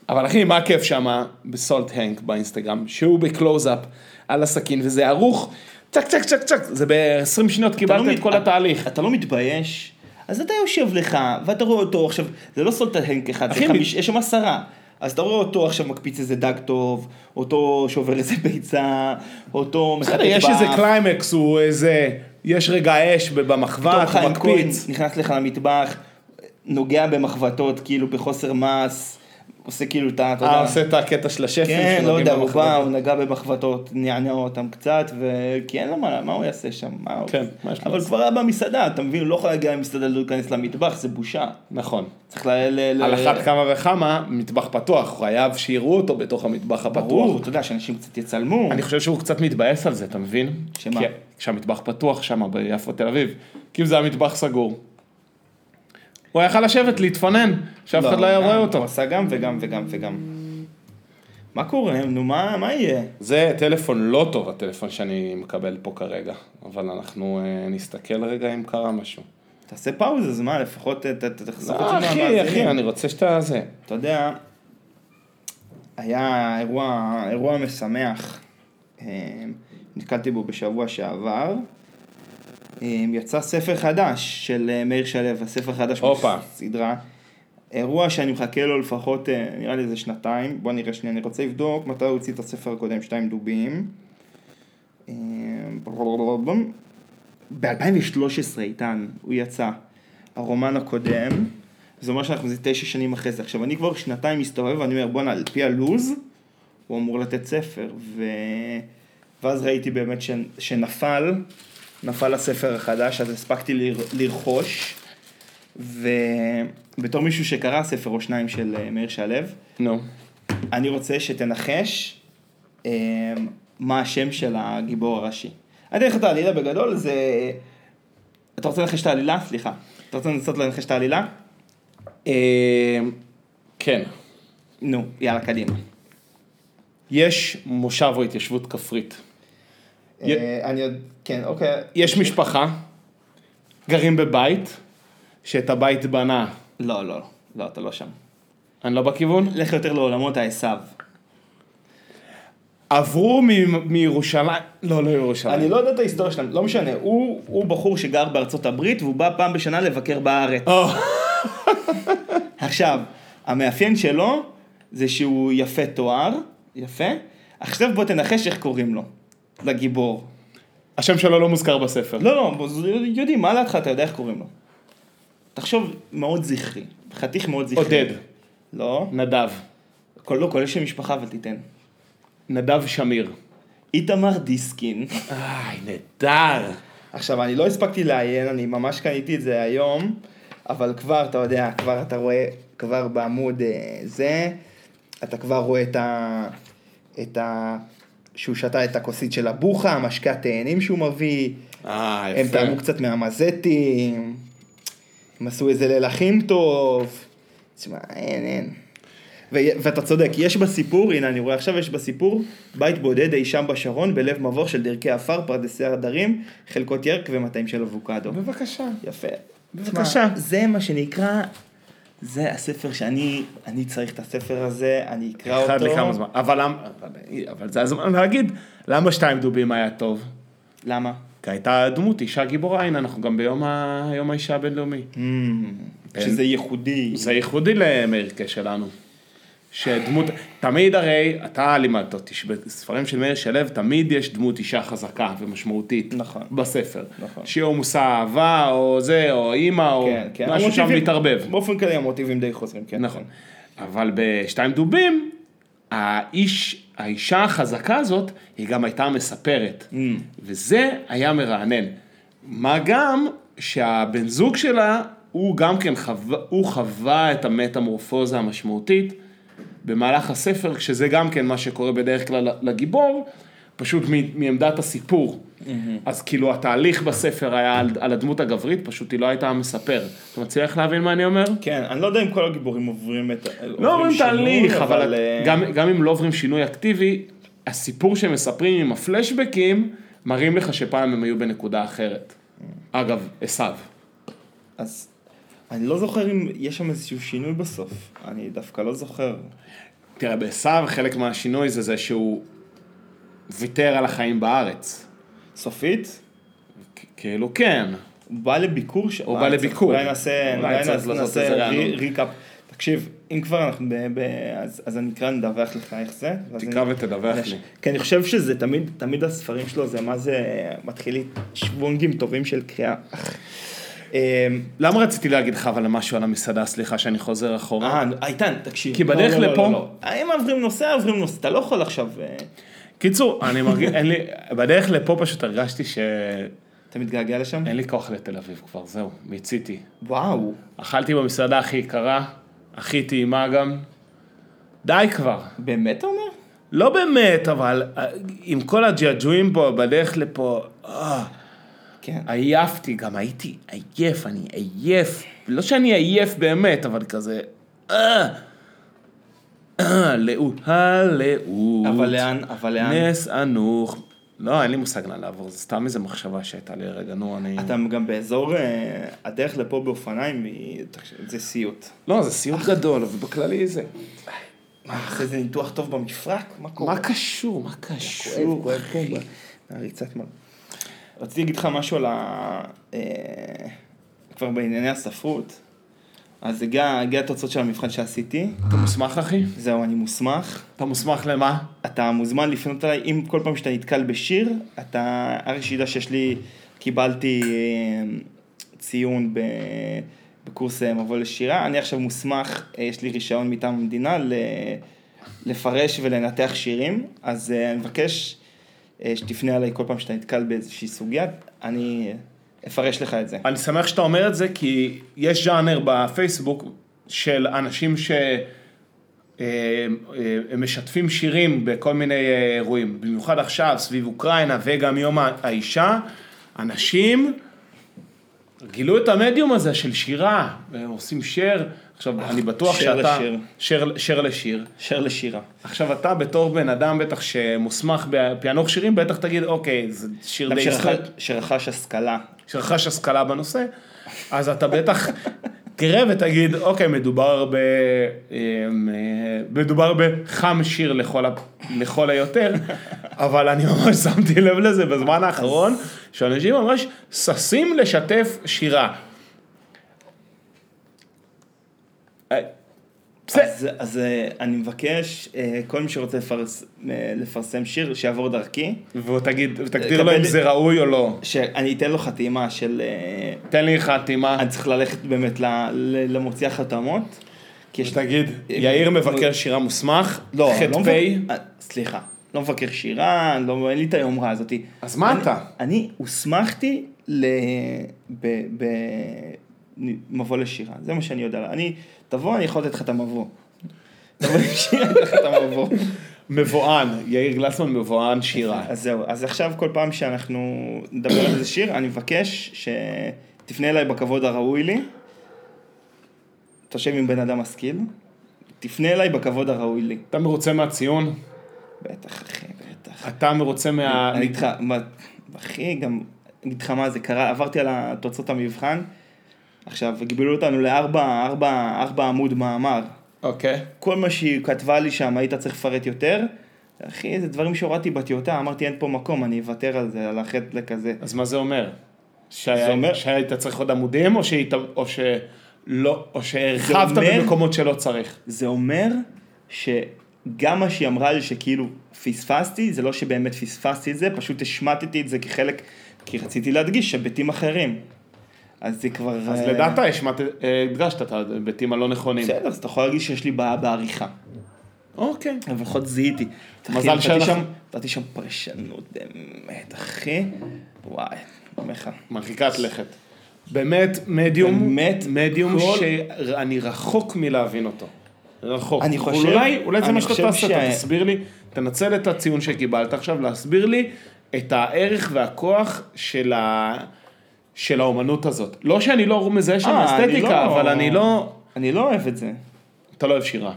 S2: אבל אחי, מה הכיף שמה בסולט הנק באינסטגרם, שהוא בקלוז-אפ על הסכין, וזה ערוך, צ'ק צ'ק צ'ק צ'ק, זה ב-20 שניות
S1: אתה
S2: קיבלת
S1: לא
S2: את
S1: מת-
S2: כל התהליך.
S1: אתה לא מתבייש? אז אתה יושב לך, ואתה רואה אותו עכשיו, זה לא סולטהנק אחד, זה
S2: אחי,
S1: חמיש, יש שם עשרה. אז אתה רואה אותו עכשיו מקפיץ איזה דג טוב, אותו שובר איזה ביצה, אותו מחטט
S2: בסדר, יש איזה קליימקס, הוא איזה, יש רגע אש ב- במחבת,
S1: פתאום
S2: הוא
S1: חיים כהן
S2: מקפיץ.
S1: נכנס לך למטבח, נוגע במחבתות, כאילו בחוסר מס, עושה כאילו את ה... אתה יודע,
S2: אה, עושה את הקטע של השפים.
S1: כן, לא
S2: שנוגעים
S1: יודע, הוא
S2: במחבת.
S1: בא, הוא נגע במחבתות, נענע אותם קצת, וכי אין לו מה, מה הוא יעשה שם? מה הוא...
S2: כן, מה יש לו
S1: אבל
S2: לעשות?
S1: כבר היה במסעדה, אתה מבין, הוא לא יכול להגיע למסעדה לא להיכנס למטבח, זה בושה.
S2: נכון.
S1: צריך ל... ל- ל-
S2: על אחת כמה וכמה, מטבח פתוח, הוא חייב שיראו אותו בתוך המטבח הפתוח.
S1: ברור, אתה יודע, שאנשים קצת יצלמו.
S2: אני חושב שהוא קצת מתבאס על זה, אתה מבין?
S1: שמה?
S2: כי כשהמטבח פתוח שם ביפו תל אביב, כי אם זה היה מטבח סגור. הוא היה יכול לשבת, להתפנן, שאף אחד לא היה רואה
S1: גם,
S2: אותו.
S1: הוא עשה גם וגם וגם וגם. מה קורה? נו, מה מה יהיה?
S2: זה טלפון לא טוב, הטלפון שאני מקבל פה כרגע, אבל אנחנו אה, נסתכל רגע אם קרה משהו.
S1: תעשה פאוזה, אז מה, לפחות ת- ת- תחסוך
S2: לא,
S1: את זה
S2: אחי, אחי,
S1: מהמאזינים.
S2: אני רוצה שאתה זה.
S1: אתה יודע, היה אירוע, אירוע משמח, אה, נתקלתי בו בשבוע שעבר. אה, יצא ספר חדש של אה, מאיר שלו, הספר החדש
S2: הופה.
S1: בסדרה. אירוע שאני מחכה לו לפחות, אה, נראה לי איזה שנתיים, בוא נראה שנייה, אני רוצה לבדוק מתי הוא הוציא את הספר הקודם, שתיים דובים. אה, ב-2013, איתן, הוא יצא, הרומן הקודם, זה אומר שאנחנו זה תשע שנים אחרי זה. עכשיו, אני כבר שנתיים מסתובב, ואני אומר, בואנה, על פי הלוז, הוא אמור לתת ספר, ו... ואז ראיתי באמת ש... שנפל, נפל הספר החדש, אז הספקתי לר... לרכוש, ובתור מישהו שקרא ספר או שניים של אה, מאיר שלו,
S2: נו.
S1: אני רוצה שתנחש אה, מה השם של הגיבור הראשי. אני אתן לך את העלילה בגדול, זה... אתה רוצה לנחש את העלילה? סליחה. אתה רוצה לנסות לנחש את העלילה?
S2: אה, כן.
S1: נו, יאללה, קדימה.
S2: יש מושב או התיישבות כפרית. י-
S1: אה, אני עוד... כן, אוקיי.
S2: יש משפחה, גרים בבית, שאת הבית בנה.
S1: לא, לא, לא, אתה לא שם.
S2: אני לא בכיוון?
S1: לך יותר לעולמות העשו.
S2: עברו מ- מירושלים, לא, לא ירושלים.
S1: אני לא יודע את ההיסטוריה שלהם, לא משנה. הוא הוא בחור שגר בארצות הברית והוא בא פעם בשנה לבקר בארץ.
S2: או,
S1: עכשיו, המאפיין שלו זה שהוא יפה תואר, יפה. עכשיו בוא תנחש איך קוראים לו, לגיבור.
S2: השם שלו לא מוזכר בספר.
S1: לא, לא, בוא, זה- יודעים, מה לדעתך אתה יודע איך קוראים לו? תחשוב מאוד זכרי, חתיך מאוד זכרי.
S2: עודד,
S1: לא,
S2: נדב,
S1: כל, לא, כולל שם משפחה, אבל תיתן.
S2: נדב שמיר.
S1: איתמר דיסקין.
S2: איי, נהדר.
S1: עכשיו, אני לא הספקתי לעיין, אני ממש קניתי את זה היום, אבל כבר, אתה יודע, כבר אתה רואה, כבר בעמוד אה, זה, אתה כבר רואה את ה... את ה... שהוא שתה את הכוסית של הבוכה, המשקה התאנים שהוא מביא,
S2: אה,
S1: הם
S2: יפה.
S1: טעמו קצת מהמזטים, הם עשו איזה ליל אחים טוב, תשמע, אין, אין. ו- ואתה צודק, יש בסיפור, הנה אני רואה עכשיו, יש בסיפור, בית בודד אי שם בשרון, בלב מבוך של דרכי עפר, פרדסי הדרים, חלקות ירק ומטעים של אבוקדו.
S2: בבקשה.
S1: יפה.
S2: בבקשה.
S1: תשמע, זה מה שנקרא, זה הספר שאני, אני צריך את הספר הזה, אני אקרא אותו.
S2: אחד לכמה זמן. אבל למה, אבל- אבל זה הזמן להגיד, למה שתיים דובים היה טוב?
S1: למה?
S2: כי הייתה דמות, אישה גיבורה, הנה אנחנו גם ביום ה- יום האישה הבינלאומי.
S1: Mm, שזה ייחודי.
S2: זה ייחודי למאיר קש שלנו. שדמות, תמיד הרי, אתה לימדת אותי שבספרים של מאיר שלו תמיד יש דמות אישה חזקה ומשמעותית.
S1: נכון. בספר. נכון.
S2: שהיא או מושא אהבה, או זה, או אימא, או
S1: כן, כן.
S2: משהו שם
S1: המוטיבים-
S2: מתערבב.
S1: באופן כללי המוטיבים די חוזרים, כן.
S2: נכון. אבל בשתיים דובים, האיש, האישה החזקה הזאת, היא גם הייתה מספרת. וזה היה מרענן. מה גם שהבן זוג שלה, הוא גם כן חווה, הוא חווה את המטמורפוזה המשמעותית במהלך הספר, כשזה גם כן מה שקורה בדרך כלל לגיבור, פשוט מ- מעמדת הסיפור. אז כאילו התהליך בספר היה על, על הדמות הגברית, פשוט היא לא הייתה המספר. אתה מצליח להבין מה אני אומר?
S1: כן, אני לא יודע אם כל הגיבורים עוברים את...
S2: לא אומרים
S1: שינוי,
S2: תהליך, אבל
S1: אה,
S2: גם, גם אם לא עוברים שינוי אקטיבי, הסיפור שמספרים עם הפלשבקים, מראים לך שפעם הם היו בנקודה אחרת. אגב, עשיו.
S1: אז אני לא זוכר אם יש שם איזשהו שינוי בסוף. אני דווקא לא זוכר.
S2: תראה, בעשיו חלק מהשינוי זה זה שהוא ויתר על החיים בארץ.
S1: סופית?
S2: כ- כאילו כן.
S1: הוא בא לביקור שם.
S2: הוא בא לביקור.
S1: אולי נעשה,
S2: אולי
S1: אולי
S2: צריך
S1: נעשה,
S2: לעשות
S1: נעשה
S2: איזה
S1: רי-
S2: רענון.
S1: ריקאפ. תקשיב, אם כבר אנחנו ב... ב אז, אז אני אקרא, נדווח לך איך זה. ואז אני-
S2: תקרא ותדווח לי.
S1: כי אני חושב שזה תמיד, תמיד הספרים שלו זה מה זה מתחיל לי שוונגים טובים של קריאה. אמ,
S2: למה רציתי להגיד לך אבל משהו על המסעדה, סליחה שאני חוזר אחורה?
S1: אה, איתן, תקשיב.
S2: כי
S1: לא,
S2: בדרך
S1: לא, לא,
S2: לפה-
S1: לא, לא. אם עוברים נושא, עוברים נושא. אתה לא יכול עכשיו... אה,
S2: קיצור, אני מרגיש, אין לי, בדרך לפה פשוט הרגשתי שאין
S1: אתה מתגעגע לשם?
S2: לי כוח לתל אביב כבר, זהו, מיציתי.
S1: וואו.
S2: אכלתי במסעדה הכי יקרה, הכי טעימה גם. די כבר.
S1: באמת אתה אומר?
S2: לא באמת, אבל אה, עם כל הג'עג'ועים פה, בדרך לפה, אה,
S1: כן.
S2: עייפתי, גם הייתי עייף, אני עייף. לא שאני עייף באמת, אבל כזה... אה, אה, לאות, הלאות.
S1: אבל לאן, אבל לאן?
S2: נס אנוך. לא, אין לי מושג לאן לעבור, זה סתם איזה מחשבה שהייתה לי רגע, נו, אני...
S1: אתה גם באזור, אה, הדרך לפה באופניים היא- תקשיב, זה סיוט.
S2: לא, זה סיוט גדול, ובכללי זה...
S1: מה, אחרי זה ניתוח טוב במפרק? מה קורה?
S2: אה. מה קשור? מה
S1: כואב,
S2: קשור?
S1: כואב פה. הריצת מר. רציתי להגיד לך משהו על ה... אה, כבר בענייני הספרות. אז הגיע הגיע התוצאות של המבחן שעשיתי.
S2: אתה מוסמך, אחי?
S1: זהו, אני מוסמך.
S2: אתה מוסמך למה?
S1: אתה מוזמן לפנות אליי, אם כל פעם שאתה נתקל בשיר, אתה, ארי שידע שיש לי, קיבלתי אה, ציון ב, בקורס אה, מבוא לשירה, אני עכשיו מוסמך, אה, יש לי רישיון מטעם המדינה ל, לפרש ולנתח שירים, אז אה, אני מבקש אה, שתפנה אליי כל פעם שאתה נתקל באיזושהי סוגיה, אני אפרש לך את זה.
S2: אני שמח שאתה אומר את זה, כי יש ז'אנר בפייסבוק של אנשים ש... אה, אה, הם משתפים שירים בכל מיני אה, אירועים, במיוחד עכשיו, סביב אוקראינה וגם יום האישה, אנשים גילו את המדיום הזה של שירה, הם עושים שייר, עכשיו אני בטוח
S1: שייר
S2: שאתה,
S1: לשיר.
S2: שיר, שיר לשיר,
S1: שר לשירה.
S2: עכשיו אתה בתור בן אדם בטח שמוסמך בפענוח שירים, בטח תגיד אוקיי, זה שיר
S1: אדם
S2: די ישראל.
S1: שרכש- שרכש השכלה.
S2: שרכש השכלה בנושא, אז אתה בטח תראה ותגיד, אוקיי, מדובר ב... אמ, אה, מדובר בחם שיר לכל, ה... לכל היותר, אבל אני ממש שמתי לב לזה בזמן האחרון, שאנשים ממש ששים לשתף שירה. אה,
S1: אז, אז אה, אני מבקש, אה, כל מי שרוצה לפרס, אה, לפרסם שיר, שיעבור דרכי,
S2: ותגיד, ותגדיר לו אם
S1: קבל-
S2: זה ראוי או לא.
S1: שאני אתן לו חתימה של... אה,
S2: תן לי חתימה.
S1: אני צריך ללכת באמת ל- ל- למוציאה חתמות. כי יש...
S2: תגיד, יאיר מבקר שירה מוסמך,
S1: לא, אני לא
S2: ח"פ,
S1: מבקר- אה, סליחה, לא מבקר שירה, אני לא, אין לי את היומרה הזאת.
S2: אז מה
S1: אני-
S2: אתה?
S1: אני הוסמכתי ל... ב... ב... מבוא לשירה, זה מה שאני יודע. אני, תבוא, אני יכול לתת לך את המבוא. תבוא לשירה, אני אתן לך את המבוא.
S2: מבואן, יאיר גלסמן מבואן שירה.
S1: אז זהו, אז עכשיו כל פעם שאנחנו נדבר על איזה שיר, אני מבקש שתפנה אליי בכבוד הראוי לי. תושב עם בן אדם משכיל. תפנה אליי בכבוד הראוי לי.
S2: אתה מרוצה מהציון?
S1: בטח, אחי, בטח.
S2: אתה מרוצה מה...
S1: אני אגיד לך, מה- אחי, גם, אני אגיד לך מה זה קרה, עברתי על תוצאות המבחן. עכשיו, גיבלו אותנו לארבע, ארבע, ארבע עמוד מאמר.
S2: אוקיי.
S1: כל מה שהיא כתבה לי שם, היית צריך לפרט יותר. אחי, זה דברים שהורדתי בטיוטה, אמרתי אין פה מקום, אני אוותר על זה, על החטא הזה.
S2: אז מה זה אומר?
S1: זה אומר-
S2: שהיה- שהיית צריך עוד עמודים, או שהיית- או שלא- או שהרחבת
S1: זה אומר-
S2: במקומות שלא צריך?
S1: זה אומר שגם מה שהיא אמרה לי שכאילו פספסתי, זה לא שבאמת פספסתי את זה, פשוט השמטתי את זה כחלק, כי רציתי להדגיש שהיבטים אחרים. אז זה כבר...
S2: אז
S1: אה,
S2: לדעתה השמעת- אה, הדגשת את ההיבטים הלא נכונים.
S1: בסדר, אז אתה יכול להגיד שיש לי בעיה בעריכה.
S2: אוקיי.
S1: אבל לפחות זיהיתי.
S2: מזל
S1: אחי, נתתי
S2: שאנחנו-
S1: שם- נתתי שם פרשנות, באמת, אחי. וואי, אומר לך.
S2: מרחיקת לכת. באמת מדיום,
S1: באמת,
S2: מדיום
S1: כל-
S2: שאני רחוק מלהבין אותו. רחוק.
S1: אני חושב-
S2: אולי, אולי זה
S1: אני
S2: מה שאתה
S1: חושב
S2: תעשה, אתה
S1: שה-
S2: תסביר לי, תנצל את הציון שקיבלת עכשיו, להסביר לי את הערך והכוח של, ה... של האומנות הזאת. לא שאני לא מזהה שם
S1: אה, אני לא-
S2: אסתטיקה, אבל אני לא...
S1: אני לא אוהב את זה.
S2: אתה לא אוהב שירה.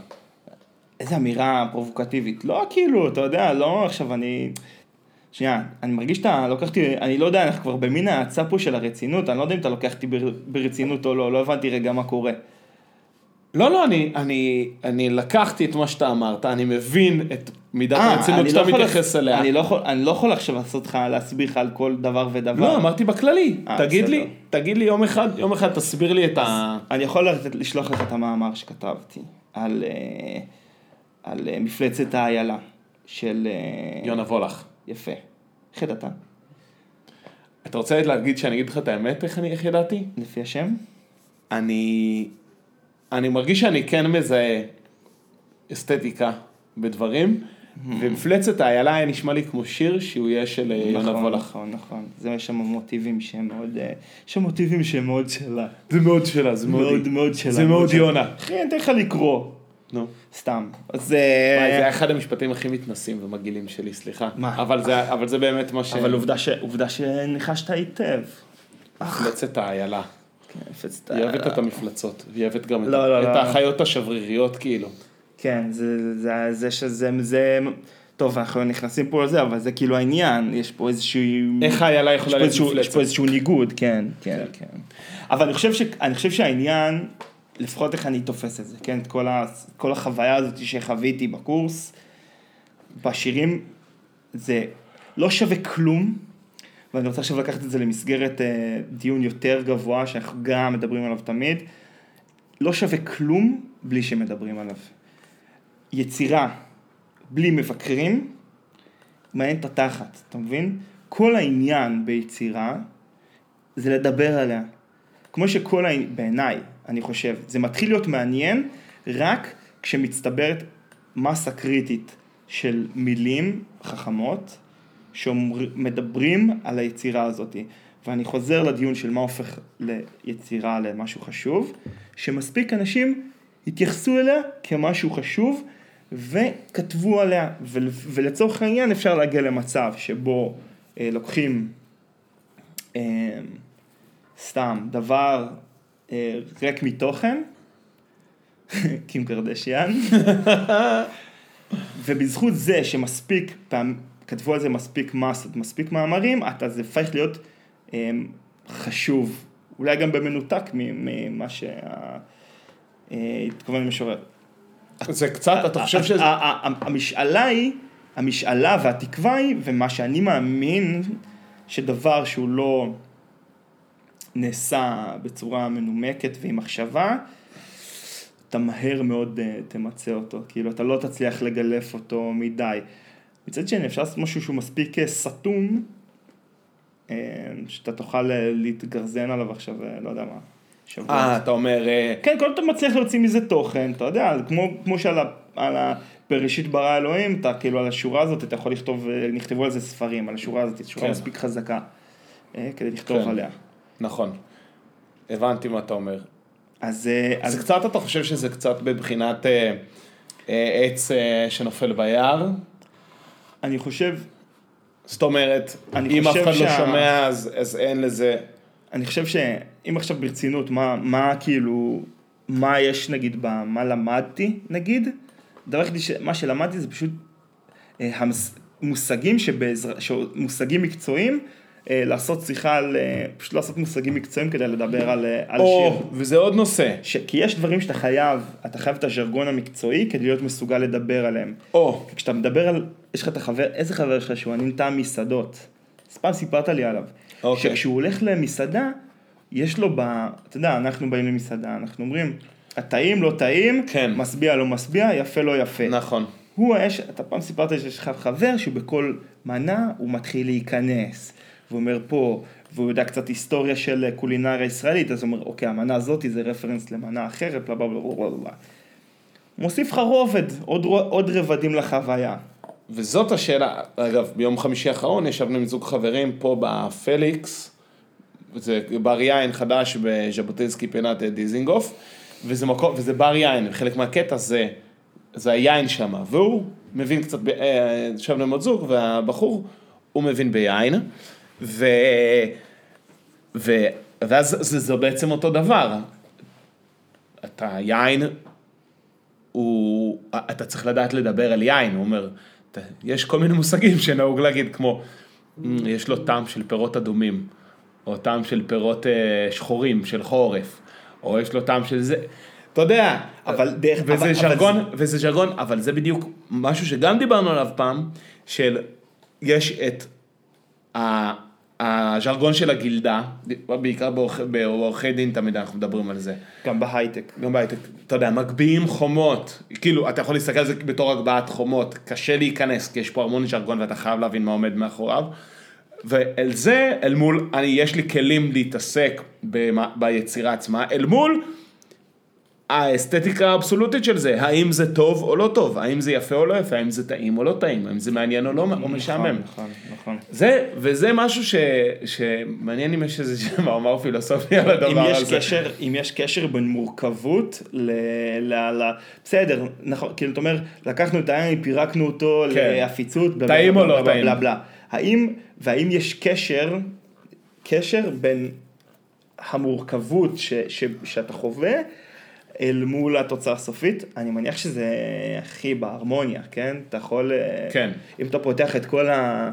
S1: איזו אמירה פרובוקטיבית. לא כאילו, אתה יודע, לא עכשיו אני... שנייה, אני מרגיש שאתה לוקחתי, אני לא יודע, אנחנו כבר במין ההאצה פה של הרצינות, אני לא יודע אם אתה לוקח אותי בר- ברצינות או לא, לא הבנתי רגע מה קורה.
S2: לא, לא, אני, אני, אני לקחתי את מה שאתה אמרת, אני מבין את מידת
S1: אה,
S2: הרצינות
S1: אני
S2: שאתה
S1: לא יכול
S2: מתייחס
S1: לח-
S2: אליה.
S1: אני לא יכול- אני לא יכול עכשיו לעשות לך, להסביר לך על כל דבר ודבר.
S2: לא, אמרתי בכללי.
S1: אה,
S2: תגיד
S1: בסדר.
S2: לי, תגיד לי יום אחד, יום אחד תסביר לי את ה...
S1: אני יכול לתת, לשלוח לך את המאמר שכתבתי על, אה, על אה, מפלצת האיילה של... אה,
S2: יונה וולך.
S1: יפה. איך ידעת?
S2: אתה רוצה להגיד שאני אגיד לך את האמת, איך אני, איך ידעתי?
S1: לפי השם?
S2: אני... אני מרגיש שאני כן מזהה אסתטיקה בדברים, ומפלצת האיילה היה נשמע לי כמו שיר שהוא יהיה של אה, יונה
S1: נכון,
S2: וולך.
S1: נכון, נכון. זה יש שם מוטיבים שהם מאוד, אה, יש שם מוטיבים שהם מאוד שלה.
S2: זה מאוד שלה, זה
S1: מאוד מאוד שלה.
S2: זה מאוד
S1: שלה.
S2: יונה.
S1: אחי, אני אתן לך לקרוא.
S2: נו.
S1: סתם. אז...
S2: וואי,
S1: אה,
S2: זה היה אחד המשפטים הכי מתנסים ומגעילים שלי, סליחה.
S1: מה?
S2: אבל זה- אבל זה באמת מה ש...
S1: אבל עובדה ש- עובדה שניחשת היטב.
S2: מפלצת האיילה.
S1: כן, הפצת-
S2: היא אוהבת את המפלצות, והיא אוהבת גם את-
S1: לא, לא,
S2: את
S1: לא.
S2: האחיות השבריריות כאילו.
S1: כן, זה, זה, זה שזה, זה, טוב, אנחנו נכנסים פה לזה, אבל זה כאילו העניין, יש פה איזשהו...
S2: איך האיילה
S1: יש
S2: יכולה
S1: פה,
S2: להיות
S1: איזשהו, יש פה
S2: מפלצת?
S1: איזשהו ניגוד, כן, כן, כן. אבל אני חושב, ש, אני חושב שהעניין, לפחות איך אני תופס את זה, כן, את כל, ה, כל החוויה הזאת שחוויתי בקורס, בשירים, זה לא שווה כלום, ואני רוצה עכשיו לקחת את זה למסגרת אה, דיון יותר גבוה, שאנחנו גם מדברים עליו תמיד, לא שווה כלום בלי שמדברים עליו. יצירה בלי מבקרים, מעניין את התחת, אתה מבין? כל העניין ביצירה זה לדבר עליה. כמו שכל העניין, בעיניי, אני חושב, זה מתחיל להיות מעניין רק כשמצטברת מסה קריטית של מילים חכמות שמדברים על היצירה הזאת. ואני חוזר לדיון של מה הופך ליצירה למשהו חשוב, שמספיק אנשים התייחסו אליה כמשהו חשוב וכתבו עליה, ול, ולצורך העניין אפשר להגיע למצב שבו אה, לוקחים אה, סתם דבר אה, ריק מתוכן, קים קרדשיאן, ובזכות זה שמספיק פעם, כתבו על זה מספיק מסות, מספיק מאמרים, אתה זה הופך להיות אה, חשוב, אולי גם במנותק מ- ממה אה, שהתכוון למשורר.
S2: זה קצת, אתה חושב שזה...
S1: ה- ה- ה- המשאלה היא, המשאלה והתקווה היא, ומה שאני מאמין, שדבר שהוא לא נעשה בצורה מנומקת ועם מחשבה, אתה מהר מאוד אה, תמצה אותו, כאילו אתה לא תצליח לגלף אותו מדי. מצד שני אפשר לעשות משהו שהוא מספיק אה, סתום, אה, שאתה תוכל אה, להתגרזן עליו עכשיו, אה, לא יודע מה, שבוע.
S2: אה, אתה אומר, אה,
S1: כן, כל אתה מצליח להוציא מזה תוכן, אתה יודע, כמו, כמו שעל ה, על ה, בראשית ברא אלוהים, אתה כאילו על השורה הזאת, אתה יכול לכתוב, אה, נכתבו על זה ספרים, על השורה הזאת, שורה
S2: כן.
S1: מספיק חזקה, אה, כדי לכתוב
S2: כן.
S1: עליה.
S2: נכון, הבנתי מה אתה אומר.
S1: אז, אה,
S2: אז
S1: אז
S2: קצת אתה חושב שזה קצת בבחינת אה, אה, עץ אה, שנופל ביער?
S1: אני חושב,
S2: זאת אומרת,
S1: אני
S2: אם אף
S1: חושב
S2: אחד לא
S1: שה-
S2: שומע אז, אז אין לזה,
S1: אני חושב שאם עכשיו ברצינות, מה, מה כאילו, מה יש נגיד, ב, מה למדתי נגיד, הדבר היחידי, ש- מה שלמדתי זה פשוט אה, המס- מושגים שבעזרה, ש- מושגים מקצועיים, אה, לעשות שיחה על, אה, פשוט לעשות מושגים מקצועיים כדי לדבר על, אה, על
S2: או,
S1: שיר.
S2: וזה עוד נושא,
S1: ש... כי יש דברים שאתה חייב, אתה חייב את הז'רגון המקצועי כדי להיות מסוגל לדבר עליהם.
S2: או,
S1: כשאתה מדבר על, יש לך את החבר, איזה חבר שלך שהוא הנמתע מסעדות? אז פעם סיפרת לי עליו.
S2: אוקיי.
S1: שכשהוא הולך למסעדה, יש לו ב... אתה יודע, אנחנו באים למסעדה, אנחנו אומרים, הטעים, לא טעים,
S2: כן.
S1: משביע, לא משביע, יפה, לא יפה.
S2: נכון,
S1: הוא, יש, אתה פעם סיפרת לי שיש לך חבר שהוא בכל מנה הוא מתחיל להיכנס. והוא אומר פה, והוא יודע קצת היסטוריה של קולינריה ישראלית, אז הוא אומר, אוקיי, המנה הזאתי זה רפרנס למנה אחרת, בלה בלה בלה בלה בלה. מוסיף לך רובד, עוד, רו- עוד רבדים לחוויה.
S2: וזאת השאלה, אגב, ביום חמישי האחרון ישבנו עם זוג חברים פה בפליקס, זה בר יין חדש בז'בוטינסקי פינת אה, דיזינגוף, וזה מקום, וזה בר יין, חלק מהקטע זה, זה היין שם, והוא מבין קצת, ב- אה, ישבנו עם עוד זוג, והבחור, הוא מבין ביין, ו... ו... ואז זה, זה בעצם אותו דבר. אתה יין, הוא, אתה צריך לדעת לדבר על יין, הוא אומר, "ת- יש כל מיני מושגים שנהוג להגיד, כמו, "מ, יש לו טעם של פירות אדומים, או טעם של פירות אה, שחורים, של חורף, או יש לו טעם של זה, אתה יודע,
S1: אבל דרך-
S2: וזה
S1: אבל- אבל
S2: ז'רגון, וזה ז'רגון, אבל זה בדיוק משהו שגם דיברנו עליו פעם, של יש את ה- הז'רגון של הגילדה, בעיקר בעורכי- בעורכי דין תמיד אנחנו מדברים על זה.
S1: גם בהייטק.
S2: גם בהייטק, אתה יודע, מגביהים חומות, כאילו, אתה יכול להסתכל על זה בתור הגבהת חומות, קשה להיכנס, כי יש פה המון ז'רגון ואתה חייב להבין מה עומד מאחוריו. ואל זה, אל מול, אני, יש לי כלים להתעסק במה, ביצירה עצמה, אל מול האסתטיקה האבסולוטית של זה, האם זה טוב או לא טוב, האם זה יפה או לא יפה, האם זה טעים או לא טעים, האם זה מעניין או לא או משעמם.
S1: נכון, נכון.
S2: זה, וזה משהו ש, שמעניין אם יש איזה שם מאמר פילוסופי על הדבר
S1: אם
S2: הזה.
S1: יש, קשר, אם יש קשר בין מורכבות ל... ל, ל בסדר, נכון, כאילו אתה אומר, לקחנו את העין, פירקנו אותו
S2: כן.
S1: לעפיצות, בלה,
S2: טעים
S1: בלה,
S2: או לא
S1: בלה, בלה,
S2: טעים?
S1: בלה, בלה. האם, והאם יש קשר, קשר בין המורכבות ש, ש, שאתה חווה אל מול התוצאה הסופית? אני מניח שזה הכי בהרמוניה, כן? אתה יכול... אה,
S2: כן.
S1: אם אתה פותח את כל ה...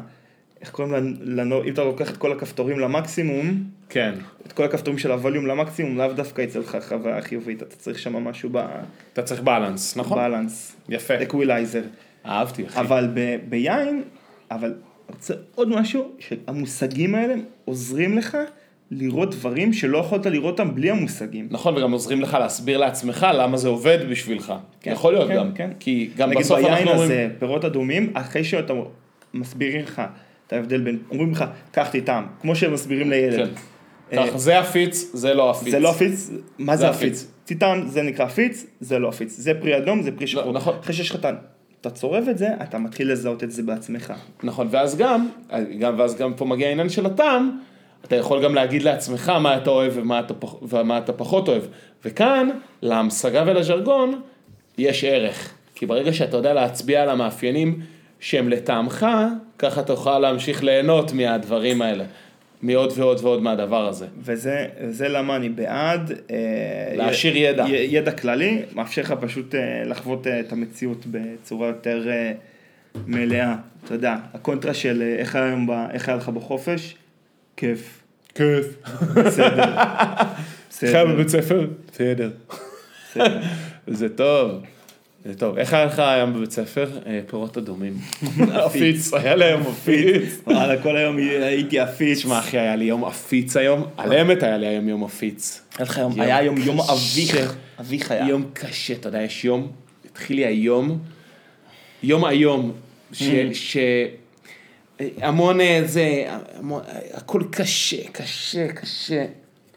S1: איך קוראים לנו? אם אתה לוקח את כל הכפתורים למקסימום,
S2: כן.
S1: את כל הכפתורים של הווליום למקסימום, לאו דווקא יצא לך חוויה חיובית, אתה צריך שם משהו
S2: אתה צריך בלנס, נכון?
S1: בבלנס,
S2: יפה.
S1: אקווילייזר.
S2: אהבתי, אחי.
S1: אבל ב- ביין, אבל רוצה עוד משהו, שהמושגים האלה עוזרים לך לראות דברים שלא יכולת לראות אותם בלי המושגים.
S2: נכון, וגם עוזרים לך להסביר לעצמך למה זה עובד בשבילך.
S1: כן,
S2: יכול להיות
S1: כן,
S2: גם.
S1: כן.
S2: כי גם
S1: נגיד
S2: בסוף
S1: ביין
S2: אנחנו אומרים...
S1: הזה, פירות אדומים, אחרי שאתה מסבירים לך את ההבדל בין, אומרים לך, קח תטעם, כמו שהם מסבירים לילד.
S2: כן.
S1: אה,
S2: ככה, זה עפיץ, זה לא עפיץ.
S1: זה לא עפיץ, מה
S2: זה
S1: זה עפיץ? טיטן זה נקרא עפיץ, זה לא עפיץ, זה פרי אדום, זה פרי שחור.
S2: נכון.
S1: אחרי שיש לך את ה... אתה צורב את זה, אתה מתחיל לזהות את זה בעצמך.
S2: נכון, ואז גם, גם, ואז גם פה מגיע העניין של הטעם, אתה יכול גם להגיד לעצמך מה אתה אוהב ומה אתה, פח, ומה אתה פחות אוהב. וכאן, להמשגה ולז'רגון, יש ערך. כי ברגע שאתה יודע להצביע על המאפיינים שהם לטעמך, ככה תוכל להמשיך ליהנות מהדברים האלה. מעוד ועוד ועוד מהדבר הזה.
S1: וזה זה למה אני בעד. אה,
S2: להעשיר
S1: י-
S2: ידע.
S1: י- ידע כללי, מאפשר לך פשוט אה, לחוות אה, את המציאות בצורה יותר אה, מלאה. אתה יודע, הקונטרה של אה, איך היה היום ב- איך היה לך בחופש, כיף.
S2: כיף.
S1: בסדר. בסדר.
S2: ספר? בסדר.
S1: בסדר.
S2: זה טוב. טוב, איך היה לך היום בבית ספר? אה, פירות אדומים. עפיץ, היה לי היום עפיץ.
S1: וואלה, כל היום הייתי עפיץ.
S2: תשמע אחי, היה לי יום עפיץ היום. על אמת היה לי היום יום עפיץ.
S1: היה לך יום,
S2: יום
S1: היה יום יום
S2: קשה.
S1: אביך. אביך היה.
S2: יום קשה, אתה יודע, יש יום, התחיל לי היום, יום היום, ש... ש... המון אה, זה, המון, אה, הכל קשה, קשה, קשה.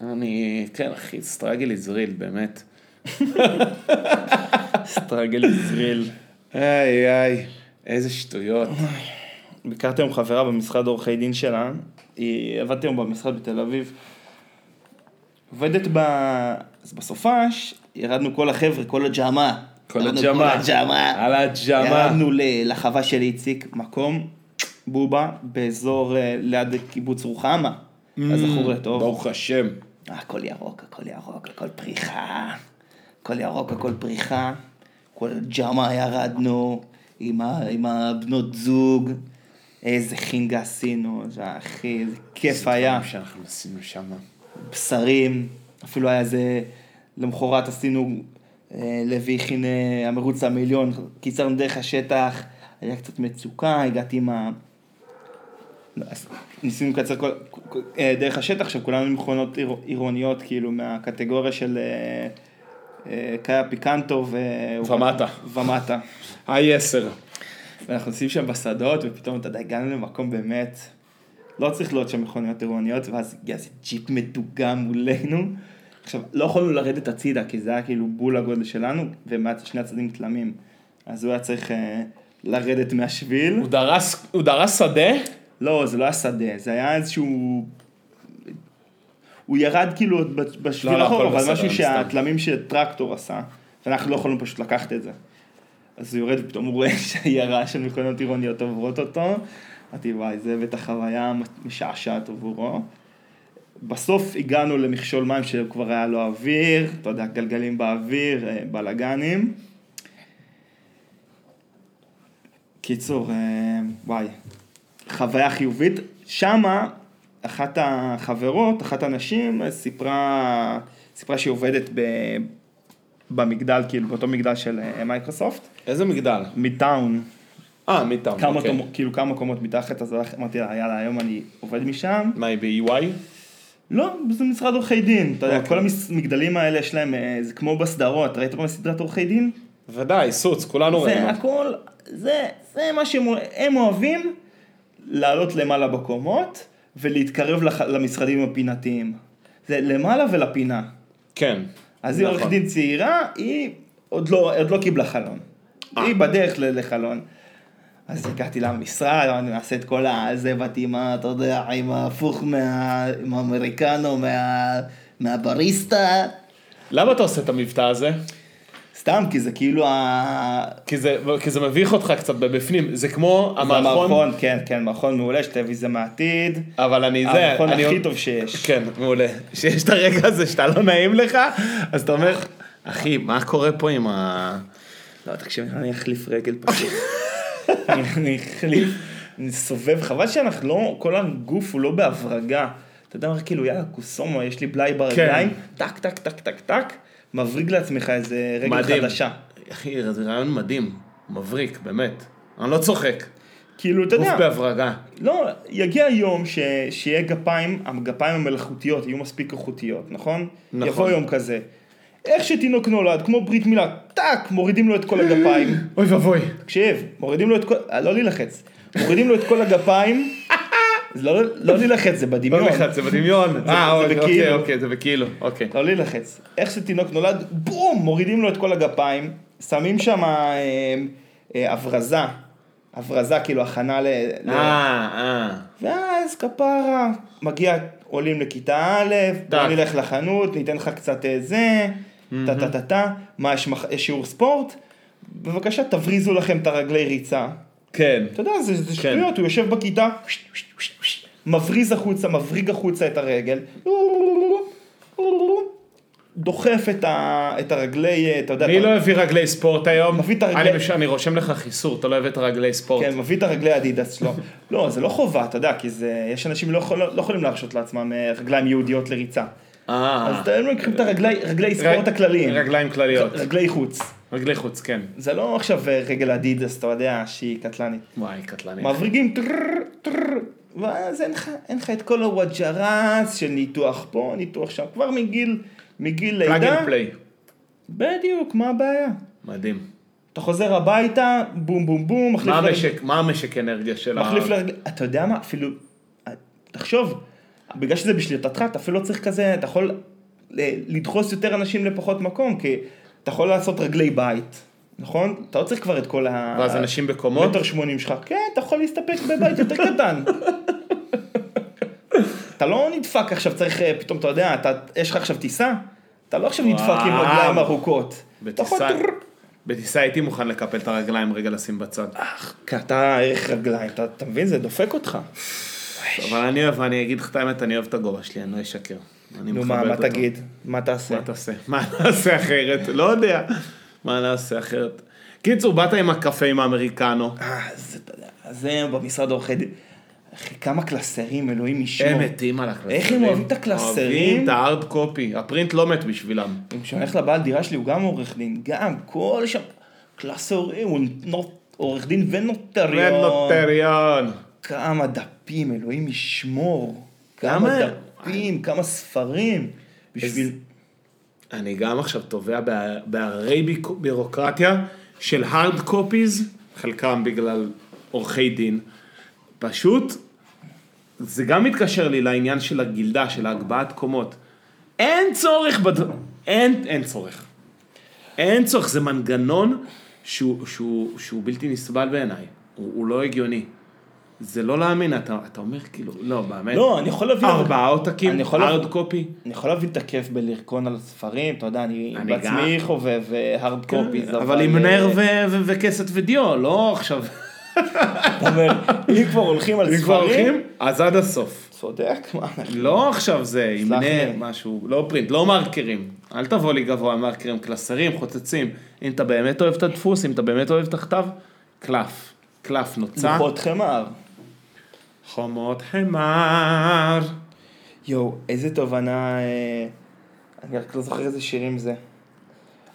S2: אני, כן אחי, סטרגל איזריל, באמת.
S1: סטרגל ישראל.
S2: איי איי, איזה שטויות.
S1: ביקרתי היום חברה במשרד עורכי דין שלה, היא עבדתי היום במשרד בתל אביב. עובדת ב... אז בסופש, ירדנו כל החבר'ה, כל הג'אמה.
S2: כל
S1: ירדנו
S2: הג'אמה.
S1: כל הג'אמה.
S2: על הג'אמה.
S1: ירדנו ל- לחווה של איציק, מקום בובה, באזור אה, ליד קיבוץ רוחמה. אז זכור לטוב.
S2: ברוך השם.
S1: הכל ירוק, הכל ירוק, הכל פריחה. הכל ירוק, הכל פריחה. כל ג'מה ירדנו עם, ה, עם הבנות זוג. איזה חינגה עשינו, זה היה, אחי, איזה כיף היה.
S2: דברים שאנחנו עשינו שם.
S1: בשרים, אפילו היה איזה... למחרת עשינו, אה, לוי הכין אה, המרוץ למיליון, קיצרנו דרך השטח, היה קצת מצוקה, הגעתי עם ה... לא, אז ניסינו לקצר כל, כל- אה, דרך השטח, עכשיו כולנו עם מכונות עיר- עירוניות, כאילו, מהקטגוריה של אה, אה, קאיה פיקנטו ו...
S2: ומטה.
S1: ומטה.
S2: היי עשר.
S1: ואנחנו נוסעים שם בשדות, ופתאום, אתה יודע, הגענו למקום באמת, לא צריך להיות שם מכוניות עירוניות, ואז הגיע איזה ג'יפ מדוגם מולנו. עכשיו, לא יכולנו לרדת הצידה, כי זה היה כאילו בול הגודל שלנו, ומהשני הצדדים תלמים. אז הוא היה צריך אה, לרדת מהשביל.
S2: הוא דרס, הוא דרס שדה?
S1: לא, זה לא היה שדה, זה היה איזשהו... הוא ירד כאילו עוד בש- בשביל
S2: לא, הכל
S1: החור, אבל
S2: בסדר,
S1: משהו
S2: אני
S1: שהתלמים שטרקטור עשה, ואנחנו לא יכולנו פשוט לקחת את זה. אז הוא יורד ופתאום הוא רואה שיירה של מכוניות עירוניות עוברות אותו. אמרתי, וואי, זה בטח חוויה משעשעת עבורו. בסוף הגענו למכשול מים שכבר היה לו אוויר, אתה יודע, גלגלים באוויר, אה, בלאגנים. קיצור, אה, וואי, חוויה חיובית. שמה, אחת החברות, אחת הנשים, אה, סיפרה, סיפרה שהיא עובדת ב, במגדל, כאילו, באותו מגדל של אה, מייקרוסופט,
S2: איזה מגדל?
S1: מטאון.
S2: אה, מיטאם.
S1: כמה,
S2: אוקיי.
S1: קומות, כאילו כמה קומות מתחת, אז הלכתי, אמרתי לה, יאללה, היום אני עובד משם.
S2: מה, היא ב-EY?
S1: לא, זה משרד עורכי דין. אתה יודע,
S2: אוקיי.
S1: כל המגדלים האלה יש להם, אה, זה כמו בסדרות, ראית פעם סדרת עורכי דין?
S2: ודאי, סוץ, כולנו
S1: זה
S2: ראינו.
S1: הכל, זה, זה מה שהם הם אוהבים, לעלות למעלה בקומות ולהתקרב לח, למשרדים הפינתיים. זה למעלה ולפינה.
S2: כן.
S1: אז היא
S2: נכון.
S1: עורכת דין צעירה, היא עוד לא, עוד לא קיבלה חלון. היא בדרך ל- לחלון. אז הגעתי למשרד, אמרתי, נעשה את כל הזה, באתי עם ה... אתה יודע, עם ההפוך מה... עם האמריקנו, מה... מהבריסטה.
S2: למה אתה עושה את המבטא הזה?
S1: סתם, כי זה כאילו ה...
S2: כי זה, כי זה מביך אותך קצת בבפנים, זה כמו
S1: זה
S2: המערכון,
S1: מערכון, כן, כן, מערכון מעולה, יש טלוויזיה מהעתיד.
S2: אבל אני זה,
S1: המערכון
S2: אני
S1: הכי טוב שיש.
S2: כן, מעולה. שיש את הרגע הזה שאתה לא נעים לך, אז אתה אומר, אחי, מה קורה פה עם ה...
S1: לא, תקשיב, אני אחליף רגל פשוט. אני אחליף, אני סובב, חבל שאנחנו לא, כל הגוף הוא לא בהברגה. אתה יודע, אומר כאילו, יאללה, קוסומו, יש לי בלאי ברגליים,
S2: כן.
S1: טק, טק, טק, טק, טק, מבריג לעצמך איזה רגל
S2: מדהים.
S1: חדשה.
S2: אחי, זה רעיון מדהים, מבריק, באמת. אני לא צוחק.
S1: כאילו, אתה
S2: גוף
S1: יודע,
S2: בהברגה.
S1: לא, יגיע יום ש... שיהיה גפיים, הגפיים המלאכותיות יהיו מספיק איכותיות, נכון?
S2: נכון.
S1: יבוא יום כזה. איך שתינוק נולד, כמו ברית מילה, טאק, מורידים לו את כל הגפיים.
S2: אוי ואבוי.
S1: תקשיב, מורידים לו את כל... אה, לא להילחץ. מורידים לו את כל הגפיים. זה לא, לא להילחץ, זה
S2: לא
S1: בדמיון.
S2: לך, זה בדמיון.
S1: זה-
S2: אה,
S1: זה
S2: אוקיי, אוקיי,
S1: בכאילו.
S2: אוקיי, זה בכאילו, אוקיי.
S1: לא להילחץ. איך שתינוק נולד, בום, מורידים לו את כל הגפיים, שמים שם אה, אה, הברזה. הברזה, כאילו הכנה ל... ל-
S2: אה, אה.
S1: ואז כפרה, מגיע, עולים לכיתה א', בוא
S2: טאק.
S1: נלך לחנות, ניתן לך קצת אה, זה, טה טה טה טה, מה, יש מח- יש שיעור ספורט? בבקשה, תבריזו לכם את הרגלי ריצה.
S2: כן.
S1: אתה יודע, זה, זה שטויות, הוא יושב בכיתה, מבריז החוצה, מבריג החוצה את הרגל, דוחף את, ה, את הרגלי, אה, אתה יודע,
S2: מי
S1: אתה-
S2: לא הביא רגלי ספורט היום?
S1: מביא את הרגלי-
S2: אני מש- אני רושם לך חיסור, אתה לא הבאת רגלי ספורט.
S1: כן, מביא את הרגלי אדידס שלו. לא, זה לא חובה, אתה יודע, כי זה, יש אנשים לא, יכול, לא יכולים להרשות לעצמם אה, רגליים יהודיות לריצה.
S2: אה.
S1: אז הם לוקחים את הרגלי, רגלי ספורט הכלליים,
S2: רגליים כלליות.
S1: רגלי חוץ.
S2: רגלי חוץ, כן.
S1: זה לא עכשיו אה, רגל אדידס, אתה יודע, שהיא קטלנית.
S2: וואי, קטלני.
S1: מבריגים טררר, טררר, ואז אין לך, אין לך את כל הוואג'רס של ניתוח פה, ניתוח שם, כבר מגיל, מגיל
S2: פלאג
S1: לידה.
S2: אנד פליי.
S1: בדיוק, מה הבעיה?
S2: מדהים.
S1: אתה חוזר הביתה, בום בום בום, מחליף
S2: מה
S1: לרג-
S2: המשק, מה המשק אנרגיה של
S1: מחליף לרגל, אתה יודע מה, אפילו, תחשוב, בגלל שזה בשליטתך, אתה אפילו לא צריך כזה, אתה יכול ל- לדחוס יותר אנשים לפחות מקום, כי אתה יכול לעשות רגלי בית, נכון? אתה לא צריך כבר את כל ה...
S2: ואז אנשים בקומות?
S1: מטר שמונים שלך, כן, אתה יכול להסתפק בבית יותר קטן. אתה לא נדפק עכשיו, צריך אה, פתאום, אתה יודע, אתה, יש לך עכשיו טיסה, אתה לא עכשיו נדפק עם
S2: וואו.
S1: רגליים ארוכות. אתה יכול
S2: בטיסה-
S1: טררר,
S2: בטיסה הייתי מוכן לקפל את הרגליים רגע לשים בצד.
S1: כי אתה ערך רגליים, אתה, אתה מבין? זה דופק אותך.
S2: אבל אני אוהב, אני אגיד לך את האמת, אני אוהב את הגובה שלי, אני לא אשקר. אני
S1: נו, מה,
S2: מכבד
S1: מה
S2: אותו.
S1: תגיד? מה תעשה?
S2: מה תעשה? מה נעשה אחרת? לא יודע. מה נעשה אחרת? קיצור, באת עם הקפה עם האמריקנו.
S1: אה, זה, אתה יודע, זה במשרד עורכי דין. אחי, כמה קלסרים, אלוהים ישמור.
S2: הם מתים על הקלסרים.
S1: איך הם אוהבים את הקלסרים?
S2: אוהבים את הארד קופי. הפרינט לא מת בשבילם.
S1: אם כשאני הולך לבעל דירה שלי, הוא גם עורך דין, גם, כל שם, קלסרים, הוא נות, עורך דין ונוטריון.
S2: לא- ונוטריון.
S1: כמה דפים, אלוהים ישמור.
S2: כמה-
S1: כמה דפים, כמה ספרים. בשביל...
S2: אני גם עכשיו טובע בה- בהררי ביק- בירוקרטיה של הארד קופיז, חלקם בגלל עורכי דין. פשוט, זה גם מתקשר לי לעניין של הגילדה, של ההגבהת קומות. אין צורך בדבר... אין, אין צורך. אין צורך, זה מנגנון שהוא, שהוא, שהוא בלתי נסבל בעיניי. הוא, הוא לא הגיוני. זה לא להאמין, אתה, אתה אומר כאילו, לא, באמת.
S1: לא, אני יכול להבין...
S2: ארבעה עותקים,
S1: אני יכול להבין-
S2: הארד קופי.
S1: אני יכול להבין את הכיף בלרקון על ספרים, אתה יודע, אני
S2: אני כן,
S1: בעצמי חובב אה, הארד קופיז,
S2: אבל עם נר ו- ו- וכסת ודיו, לא עכשיו.
S1: אבל אם כבר הולכים על
S2: אם כבר
S1: ספרים,
S2: הולכים, אז עד הסוף.
S1: צודק, מה אנחנו...
S2: לא עכשיו זה, עם
S1: סלח
S2: נר,
S1: לי.
S2: משהו, לא פרינט, לא מרקרים. אל תבוא לי גבוה, מרקרים, קלסרים, חוצצים. אם אתה באמת אוהב את הדפוס, אם אתה באמת אוהב את הכתב, קלף. קלף נוצה.
S1: לוחות חמר.
S2: חומות חמר.
S1: יואו, איזה תובנה, אה, אני רק לא זוכר איזה שירים זה.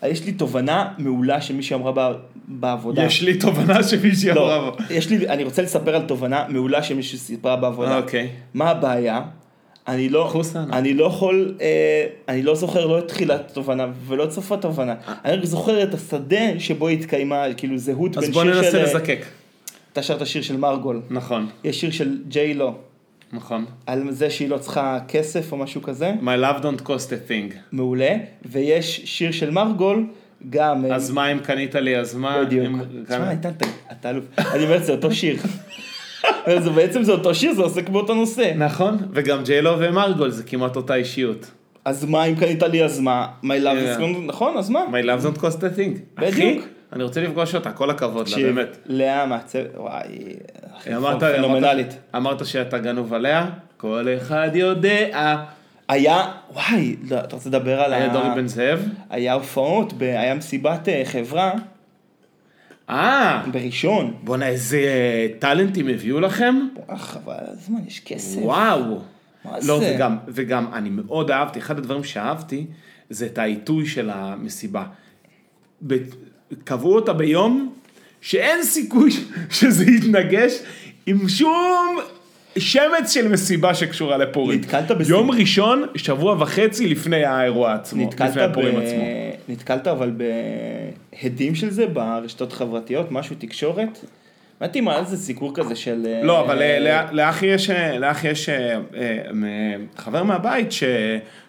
S1: אה, יש לי תובנה מעולה שמישהי אמרה ב- בעבודה.
S2: יש לי תובנה שמישהי אמרה.
S1: לא, יש לי, אני רוצה לספר על תובנה מעולה שמישהי סיפרה בעבודה.
S2: אוקיי.
S1: מה הבעיה? אני לא,
S2: חוסן.
S1: אני לא יכול, אה, אני לא זוכר לא את תחילת התובנה ולא את סוף התובנה.
S2: אה.
S1: אני רק זוכר את השדה שבו היא התקיימה, כאילו זהות בין
S2: אז
S1: שיר של...
S2: בוא ננסה
S1: אה,
S2: לזקק.
S1: אתה שרת שיר של מרגול.
S2: נכון,
S1: יש שיר של ג'יי לו,
S2: נכון.
S1: על זה שהיא לא צריכה כסף או משהו כזה,
S2: My love don't cost a thing.
S1: מעולה, ויש שיר של מרגול, גם...
S2: אז
S1: אה, לא
S2: מה אם קנית לי, אז מה?
S1: בדיוק.
S2: אם-
S1: תשמע, איתן, אתה- אתה אלוף. אני אומר, זה אותו שיר. זה- בעצם זה אותו שיר, זה עוסק באותו נושא.
S2: נכון, וגם ג'יילו ומרגול זה כמעט אותה אישיות.
S1: אז מה אם קנית לי, אז מה? My love is
S2: כן.
S1: gone, נכון, אז מה?
S2: My love don't cost a thing. אחי,
S1: בדיוק.
S2: אני רוצה לפגוש אותה, כל הכבוד לה,
S1: תקשיב,
S2: באמת.
S1: לאה מעצב, וואי,
S2: אמרת- אמרת-
S1: פנומנלית.
S2: אמרת שאתה גנוב עליה, כל אחד יודע.
S1: אה. היה, וואי, לא, אתה רוצה לדבר על
S2: היה דורי בן זאב?
S1: היה הופעות, ב- היה מסיבת אה, חברה
S2: אה,
S1: בראשון.
S2: בואנה איזה טאלנטים הביאו לכם?
S1: אה, חבל על הזמן, יש כסף.
S2: וואו.
S1: מה
S2: לא,
S1: זה?
S2: וגם, וגם אני מאוד אהבתי, אחד הדברים שאהבתי זה את העיתוי של המסיבה. ב- קבעו אותה ביום שאין סיכוי ש- שזה יתנגש עם שום שמץ של מסיבה שקשורה לפורים.
S1: נתקלת בסיב-
S2: יום ראשון, שבוע וחצי לפני האירוע עצמו,
S1: נתקלת,
S2: לפני הפורים עצמו.
S1: נתקלת אבל בהדים של זה ברשתות החברתיות, משהו תקשורת? הבנתי מה זה סיקור כזה של... אה,
S2: לא, אבל אה, לאה- לאחי יש, אה, לאחי יש אה, אה, מ- חבר מהבית ש...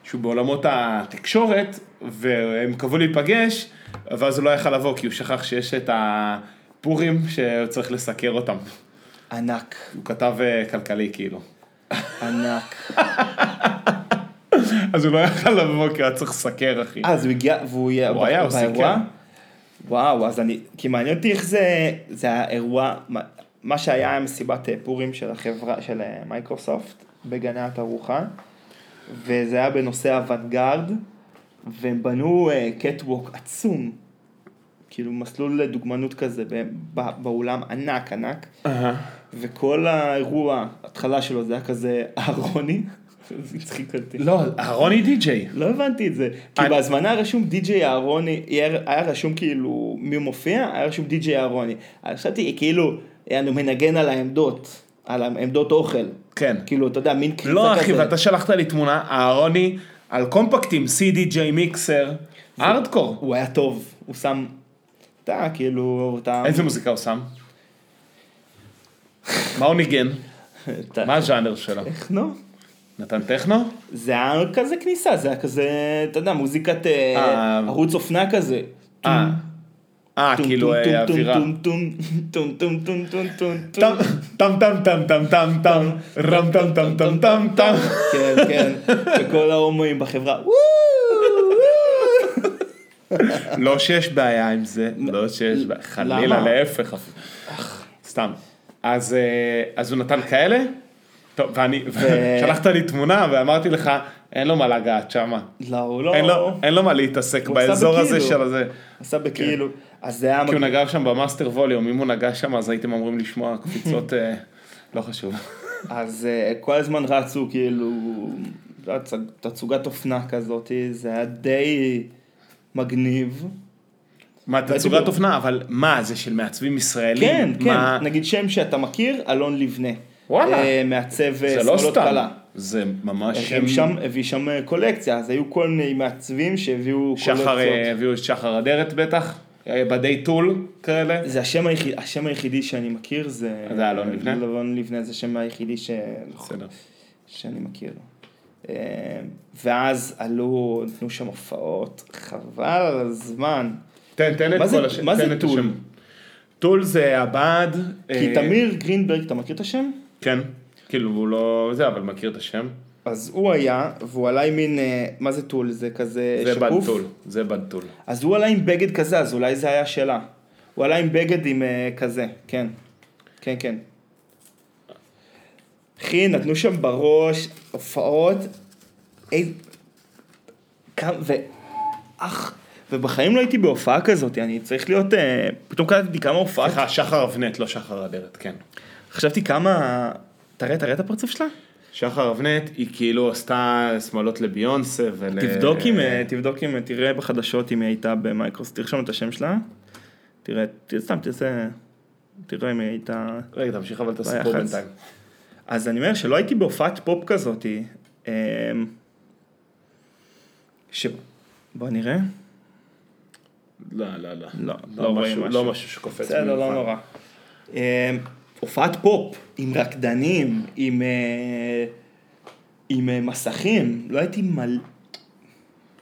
S2: שהוא בעולמות התקשורת, והם קבעו להיפגש, ואז הוא לא יכל לבוא, כי הוא שכח שיש את הפורים שהוא צריך לסקר אותם.
S1: ענק,
S2: הוא כתב אה, כלכלי, כאילו.
S1: ענק.
S2: אז הוא לא יכל לבוא, כי הוא היה צריך לסקר, אחי.
S1: אה, אז הוא הגיע, והוא יהיה
S2: הוא היה, כן. הוא
S1: באירוע?
S2: סיכם.
S1: וואו, אז אני, כי מעניין אותי איך זה, זה האירוע, מה- מה שהיה מסיבת אה, פורים של החברה, של אה, מייקרוסופט, בגני התערוכה, וזה היה בנושא הוונגרד, והם בנו קטווק עצום, כאילו מסלול לדוגמנות כזה, ב- ב- באולם ענק ענק,
S2: אהה.
S1: וכל האירוע, ההתחלה שלו זה היה כזה אהרוני, זה הצחיק אותי.
S2: לא, אהרון היא די-ג'יי.
S1: לא הבנתי את זה. כי
S2: אני-
S1: בהזמנה רשום די.ג'יי אהרוני, היה היה רשום כאילו מי מופיע, היה רשום די.ג'יי אהרוני. אז חשבתי כאילו, אנו מנגן על העמדות, על העמדות אוכל.
S2: כן.
S1: כאילו, אתה יודע, מין קריצה כזה.
S2: לא, אחי, ואתה שלחת לי תמונה, אהרוני, על קומפקטים, CDJ מיקסר, ארדקור.
S1: הוא היה טוב, הוא שם, אתה כאילו, אתה...
S2: איזה מוזיקה הוא שם? מה הוא ניגן?
S1: אתה-
S2: מה הז'אנר שלו?
S1: טכנו?
S2: נתן טכנו?
S1: זה היה כזה כניסה, זה היה כזה, אתה יודע, מוזיקת אה,
S2: אה.
S1: ערוץ אופנה כזה.
S2: אה. אה,
S1: טום,
S2: כאילו
S1: טום, טום,
S2: אה,
S1: טום,
S2: אווירה.
S1: טום, טום, טום, טום, טום, טום, טום, טום.
S2: טם טם טם טם טם טם טם רם טם טם טם טם טם
S1: כן, כן, וכל ההומואים בחברה, וואו, וואו.
S2: לא שיש בעיה עם זה, לא שיש בעיה, חלילה,
S1: למה?
S2: להפך, סתם. אז, אה, אז הוא נתן כאלה? טוב, ואני, שלחת לי תמונה ואמרתי לך, אין לו מה לגעת שמה.
S1: לא, הוא לא,
S2: אין לו- אין לו מה להתעסק
S1: הוא עשה
S2: באזור הזה
S1: בכאילו.
S2: של הזה.
S1: עשה בכאילו, אז זה היה
S2: כן. כי הוא
S1: מגניב.
S2: נגע שם במאסטר ווליום, אם הוא נגע שם אז הייתם אמורים לשמוע קפיצות, אה, לא חשוב.
S1: אז אה, כל הזמן רצו כאילו הצג- תצוגת אופנה כזאת, זה היה די מגניב.
S2: מה, תצוגת אופנה, אבל מה, זה של מעצבים ישראלים?
S1: כן,
S2: מה-
S1: כן, נגיד שם שאתה מכיר, אלון לבנה.
S2: וואלה.
S1: אה, מעצב אה,
S2: זה לא
S1: שמאלות
S2: סתם,
S1: קלה.
S2: זה ממש...
S1: הביא שם, הביא שם אה, קולקציה, אז היו כל מיני מעצבים שהביאו
S2: שחר, אה,
S1: קולקציות.
S2: הביאו את שחר אדרת בטח, אה, בדי טול כאלה.
S1: זה השם היחיד, השם היחידי שאני מכיר זה...
S2: זה אלון לבנה?
S1: אלון לבנה זה השם היחידי ש...
S2: בסדר.
S1: שאני מכיר. אה, ואז עלו, נתנו שם הופעות, חבל על הזמן.
S2: תן, תן את
S1: מה זה-
S2: כל השם.
S1: מה זה
S2: תן את
S1: טול?
S2: השם. טול זה הבד. אה,
S1: כי תמיר גרינברג, אתה מכיר את השם?
S2: כן. כאילו הוא לא זה, אבל מכיר את השם.
S1: אז הוא היה, והוא עלה עם מין, אה, מה זה טול? זה כזה
S2: זה בד
S1: אה, שקוף?
S2: טול. זה בד טול.
S1: אז הוא עלה עם בגד כזה, אז אולי זה היה שלה. הוא עלה עם בגד עם אה, כזה, כן. כן, כן. אחי, נתנו שם בראש הופעות. איזה... כמה... ו... אך... ובחיים לא הייתי בהופעה כזאת, אני צריך להיות... אה, פתאום קלטתי כמה הופעה...
S2: סליחה, שחר אבנט, לא שחר אדרת, כן.
S1: חשבתי כמה... תראה, תראה את הפרצוף שלה?
S2: שחר אבנט היא כאילו עשתה שמאלות לביונסה ול...
S1: תבדוק אם... אה, תבדוק אם... תראה בחדשות אם היא הייתה במייקרוסט. תרשום את השם שלה. תראה, ת- סתם תעשה... תראה אם היא הייתה...
S2: רגע, תמשיך אבל את
S1: ביחס.
S2: הסיפור בינתיים.
S1: אז אני אומר שלא הייתי בהופעת פופ כזאתי. אמ, ש... בוא נראה.
S2: לא, לא, לא.
S1: לא, לא רואים
S2: משהו-
S1: משהו.
S2: לא משהו שקופץ.
S1: בסדר, לא
S2: במיוחד.
S1: נורא. אמ, הופעת פופ עם רקדנים, עם אה, עם אה, מסכים, לא הייתי מל...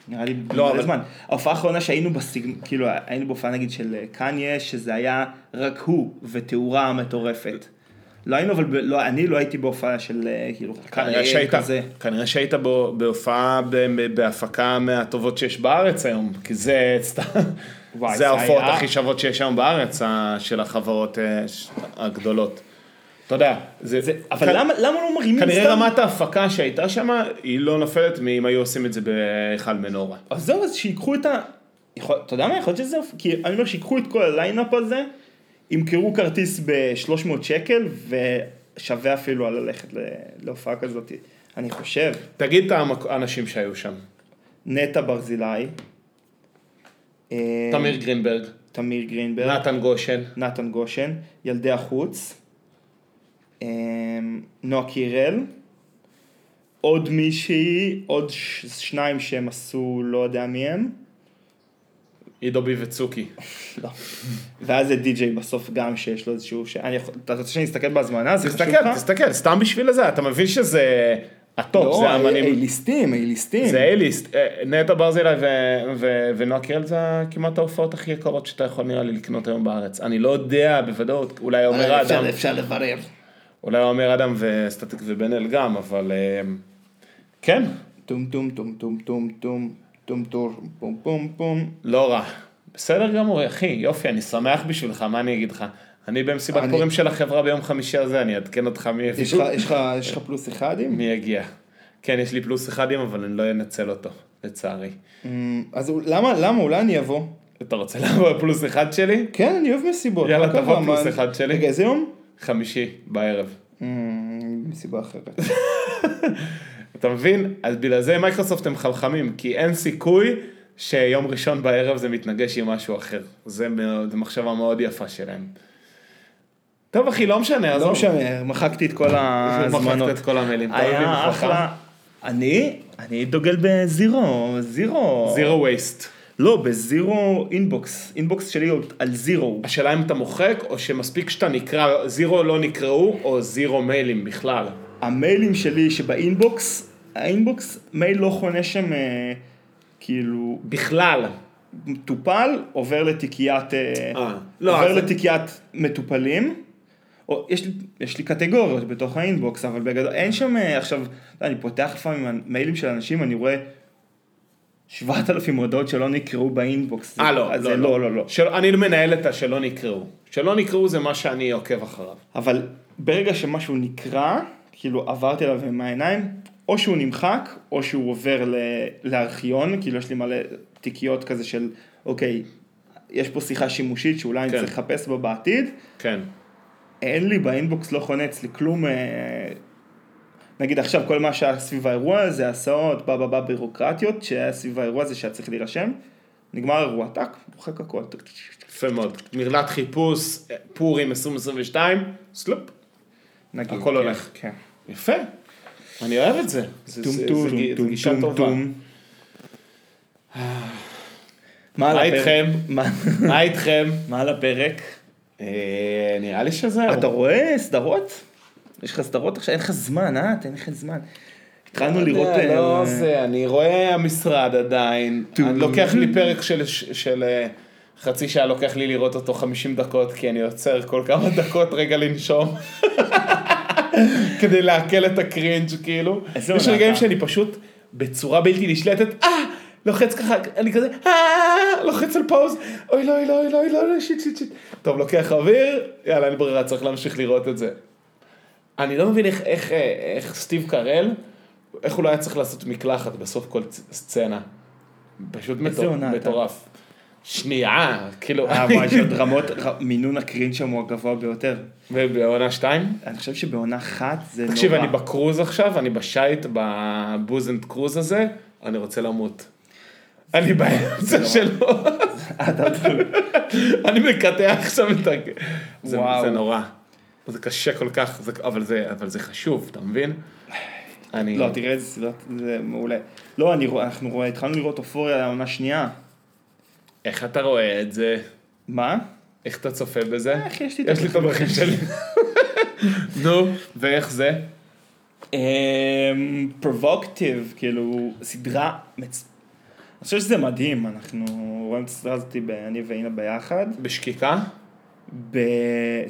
S1: נראה לי
S2: לא,
S1: מלא
S2: אבל-
S1: זמן. ההופעה האחרונה שהיינו בסגנון, כאילו היינו בהופעה נגיד של אה, קניה, שזה היה רק הוא ותאורה מטורפת. לא היינו, אבל ב... לא, אני לא הייתי בהופעה של אה, כאילו
S2: כנראה
S1: אריאל
S2: שהיית,
S1: כזה.
S2: כנראה שהיית בו- בהופעה ב- בהפקה מהטובות שיש בארץ היום, כי זה סתם,
S1: וואי, זה
S2: זה ההופעות
S1: היה-
S2: הכי שוות שיש היום בארץ, ה- של החברות אה, ש- הגדולות. אתה יודע, זה,
S1: זה, אבל
S2: כ-
S1: למה, למה לא מרימים
S2: כנראה רמת ההפקה שהייתה שם, היא לא נופלת מאם היו עושים את זה בהיכל מנורה.
S1: אז זהו, אז שיקחו את ה... יכול... אתה יודע מה? יכול להיות שזה... כי אני אומר, שיקחו את כל הליינאפ הזה, ימכרו כרטיס ב-300 שקל, ושווה אפילו על ללכת ל... להופעה כזאת, אני חושב.
S2: תגיד את המק- האנשים שהיו שם,
S1: אה. נטע ברזילי. אה,
S2: תמיר גרינברג,
S1: תמיר גרינברג.
S2: נתן גושן,
S1: נתן גושן. ילדי החוץ. אה, נועה קירל. עוד מישהי, עוד ש... שניים שהם עשו, לא יודע מי הם.
S2: עידו ביבצוקי.
S1: לא. ואז זה די-ג'יי בסוף גם שיש לו איזשהו... ש... אני יכול... אתה רוצה שאני אסתכל בהזמנה? זה חשוב
S2: תסתכל,
S1: לך?
S2: תסתכל, סתם בשביל זה, אתה מבין שזה הטופ,
S1: לא,
S2: זה האמנים.
S1: ליסטים, איי ליסטים.
S2: זה אייליסט, אה, נטע ברזילי ו- ו- ונועה קירל זה כמעט ההופעות הכי יקרות שאתה יכול נראה לי לקנות היום בארץ. אני לא יודע בוודאות, אולי
S1: אה,
S2: אומר אדם,
S1: אפשר לברר.
S2: אולי אומר אדם וסטטיק ובן אל גם, אבל אה, כן,
S1: טום טום טום טום טום טום טום טום פום פום פום.
S2: לא רע. בסדר גמור, אחי, יופי, אני שמח בשבילך, מה אני אגיד לך? אני במסיבת
S1: אני-
S2: פורים של החברה ביום חמישי הזה, אני אעדכן אותך מי יביא,
S1: יש לך- יש לך יש לך פלוס אחדים?
S2: מי יגיע. כן, יש לי פלוס אחד, אבל אני לא אנצל אותו, לצערי.
S1: אמ, אז הוא- למה, למה, אולי אני אבוא.
S2: אתה רוצה לעבור פלוס אחד שלי?
S1: כן, אני אוהב מסיבות.
S2: יאללה,
S1: מה קרה?
S2: תבוא
S1: מה,
S2: פלוס
S1: אני-
S2: אחד שלי.
S1: רגע, איזה יום? אה,
S2: חמישי בערב.
S1: אמ, מסיבה אחרת.
S2: אתה מבין? אז בגלל זה מייקרוסופט הם חלחמים, כי אין סיכוי שיום ראשון בערב זה מתנגש עם משהו אחר. זה מאוד- מחשבה מאוד יפה שלהם. טוב אחי, לא משנה, עזוב.
S1: לא משנה, מחקתי את כל ההזמנות.
S2: מחקת את כל המילים, אתה אוהב
S1: היה
S2: לי
S1: אחלה. אני? אני דוגל בזירו, זירו.
S2: זירו וייסט.
S1: לא, בזירו אינבוקס. אינבוקס שלי הוא על זירו.
S2: השאלה אם אתה מוחק, או שמספיק שאתה נקרא, זירו לא נקראו, או זירו מיילים בכלל.
S1: המיילים שלי שבאינבוקס, האינבוקס, מייל לא חונה שם אה, כאילו
S2: בכלל.
S1: מטופל, עובר לתיקיית, אה,
S2: אה, לא,
S1: עובר
S2: אז-
S1: לתיקיית מטופלים. או, יש, לי, יש לי קטגוריות בתוך האינבוקס, אבל בגדול אין שם אה, עכשיו, אני פותח לפעמים מיילים של אנשים, אני רואה 7,000 הודעות שלא נקראו באינבוקס.
S2: אה, לא,
S1: אז
S2: לא,
S1: זה
S2: לא.
S1: לא, לא, לא.
S2: של... אני מנהל את השלא נקראו. שלא נקראו זה מה שאני עוקב אחריו.
S1: אבל ברגע שמשהו נקרא, כאילו עברתי עליו עם העיניים, או שהוא נמחק, או שהוא עובר ל- לארכיון, כאילו יש לי מלא תיקיות כזה של, אוקיי, יש פה שיחה שימושית שאולי
S2: כן.
S1: אני צריך לחפש בה בעתיד,
S2: כן.
S1: אין לי באינבוקס לא חונה אצלי כלום, אה, נגיד עכשיו כל מה שהיה סביב האירוע הזה, הסעות, בא בא בא בירוקרטיות, שהיה סביב האירוע הזה שהיה צריך להירשם, נגמר האירוע, טאק, מוחק הכל, טק, טק, טק, טק.
S2: יפה מאוד. מרלת חיפוש, אה, פורים 2022, סלופ.
S1: נגיד.
S2: הכל
S1: כן,
S2: הולך.
S1: כן.
S2: יפה. אני אוהב את זה. זה-
S1: טום
S2: זה-
S1: טום
S2: זה גי- זה
S1: טום
S2: גישה
S1: טום
S2: טובה.
S1: טום. מה על
S2: מה
S1: הפרק?
S2: איתכם?
S1: מה-
S2: מה איתכם?
S1: מה על הפרק?
S2: אה, נראה לי שזהו.
S1: אתה רואה סדרות? יש לך סדרות עכשיו? אין לך זמן, אה? תן לך זמן. התחלנו
S2: לא יודע,
S1: לראות... אה,
S2: לא זה, אני רואה המשרד עדיין.
S1: טו-
S2: אני לוקח לי פרק של- של אה, חצי שעה, לוקח לי לראות אותו 50 דקות, כי אני עוצר כל כמה דקות רגע לנשום. כדי לעכל את הקרינג' כאילו.
S1: איזה
S2: יש
S1: עונה
S2: רגעים
S1: אתה?
S2: שאני פשוט בצורה בלתי נשלטת, אה! לוחץ ככה, אני כזה, אה! לוחץ על פאוז, אוי לא, אוי לא, אוי לא, אוי לא, אוי, שיט, שיט, שיט. טוב, לוקח אוויר, יאללה, אין ברירה, צריך להמשיך לראות את זה. אני לא מבין איך, איך, אה, איך סטיב קרל, איך הוא לא היה צריך לעשות מקלחת בסוף כל צ- סצנה. פשוט
S1: איזה
S2: מטור-
S1: עונה אתה?
S2: מטורף. שנייה, כאילו,
S1: אה, וואי, יש עוד רמות, ר- מינון הקרין שם הוא הגבוה ביותר.
S2: בעונה שתיים?
S1: אני חושב שבעונה אחת זה נורא.
S2: תקשיב, אני בקרוז עכשיו, אני בשייט, בבוז אנד קרוז הזה, אני רוצה למות. אני באמצע שלו, אני מקטע עכשיו את ה... זה-
S1: וואו.
S2: זה נורא. זה קשה כל כך, זה- אבל זה- אבל זה חשוב, אתה מבין? אני...
S1: לא, תראה איזה סדרות, זה מעולה. לא, אני רוא- אנחנו רואה, התחלנו לראות אופוריה העונה שנייה.
S2: איך אתה רואה את זה?
S1: מה?
S2: איך אתה צופה בזה?
S1: איך יש לי
S2: יש לי את הדרכים שלי. נו, ואיך זה?
S1: פרובוקטיב, אמ, כאילו, סדרה, מצ... אני חושב שזה מדהים, אנחנו רואים את הסדרה הזאת, ב- אני ואינה ביחד.
S2: בשקיקה?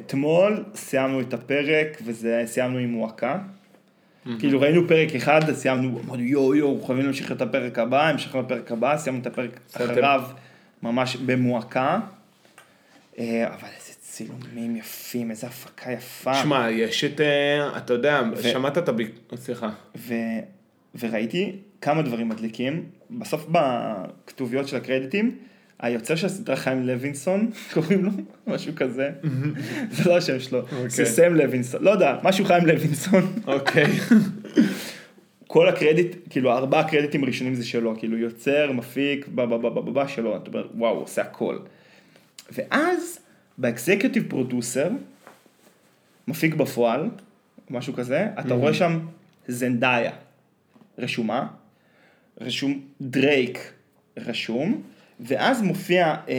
S1: אתמול סיימנו את הפרק, וסיימנו עם מועקה. כאילו ראינו פרק אחד, אז סיימנו, אמרנו יואו יואו, חייבים להמשיך את הפרק הבא, המשכנו לפרק הבא, סיימנו את הפרק
S2: בסדר.
S1: אחריו, ממש במועקה. אה, אבל איזה צילומים יפים, איזה הפקה יפה.
S2: שמע, יש את... אה, אתה יודע, שמעת את הביק... סליחה.
S1: ו... וראיתי כמה דברים מדליקים. בסוף בכתוביות של הקרדיטים, היוצר של הסדרה חיים לוינסון, קוראים לו, משהו כזה, זה לא השם שלו, זה סם לוינסון, לא יודע, משהו חיים לוינסון.
S2: אוקיי.
S1: כל הקרדיט, כאילו ארבעה הקרדיטים הראשונים זה שלו, כאילו יוצר, מפיק, בא בא בא בא בא, בא שלו, אתה אומר, וואו, הוא עושה הכל. ואז באקזקיוטיב פרודוסר, מפיק בפועל, משהו כזה, אתה רואה שם זנדאיה, רשומה, רשום דרייק, רשום, ואז מופיע אה,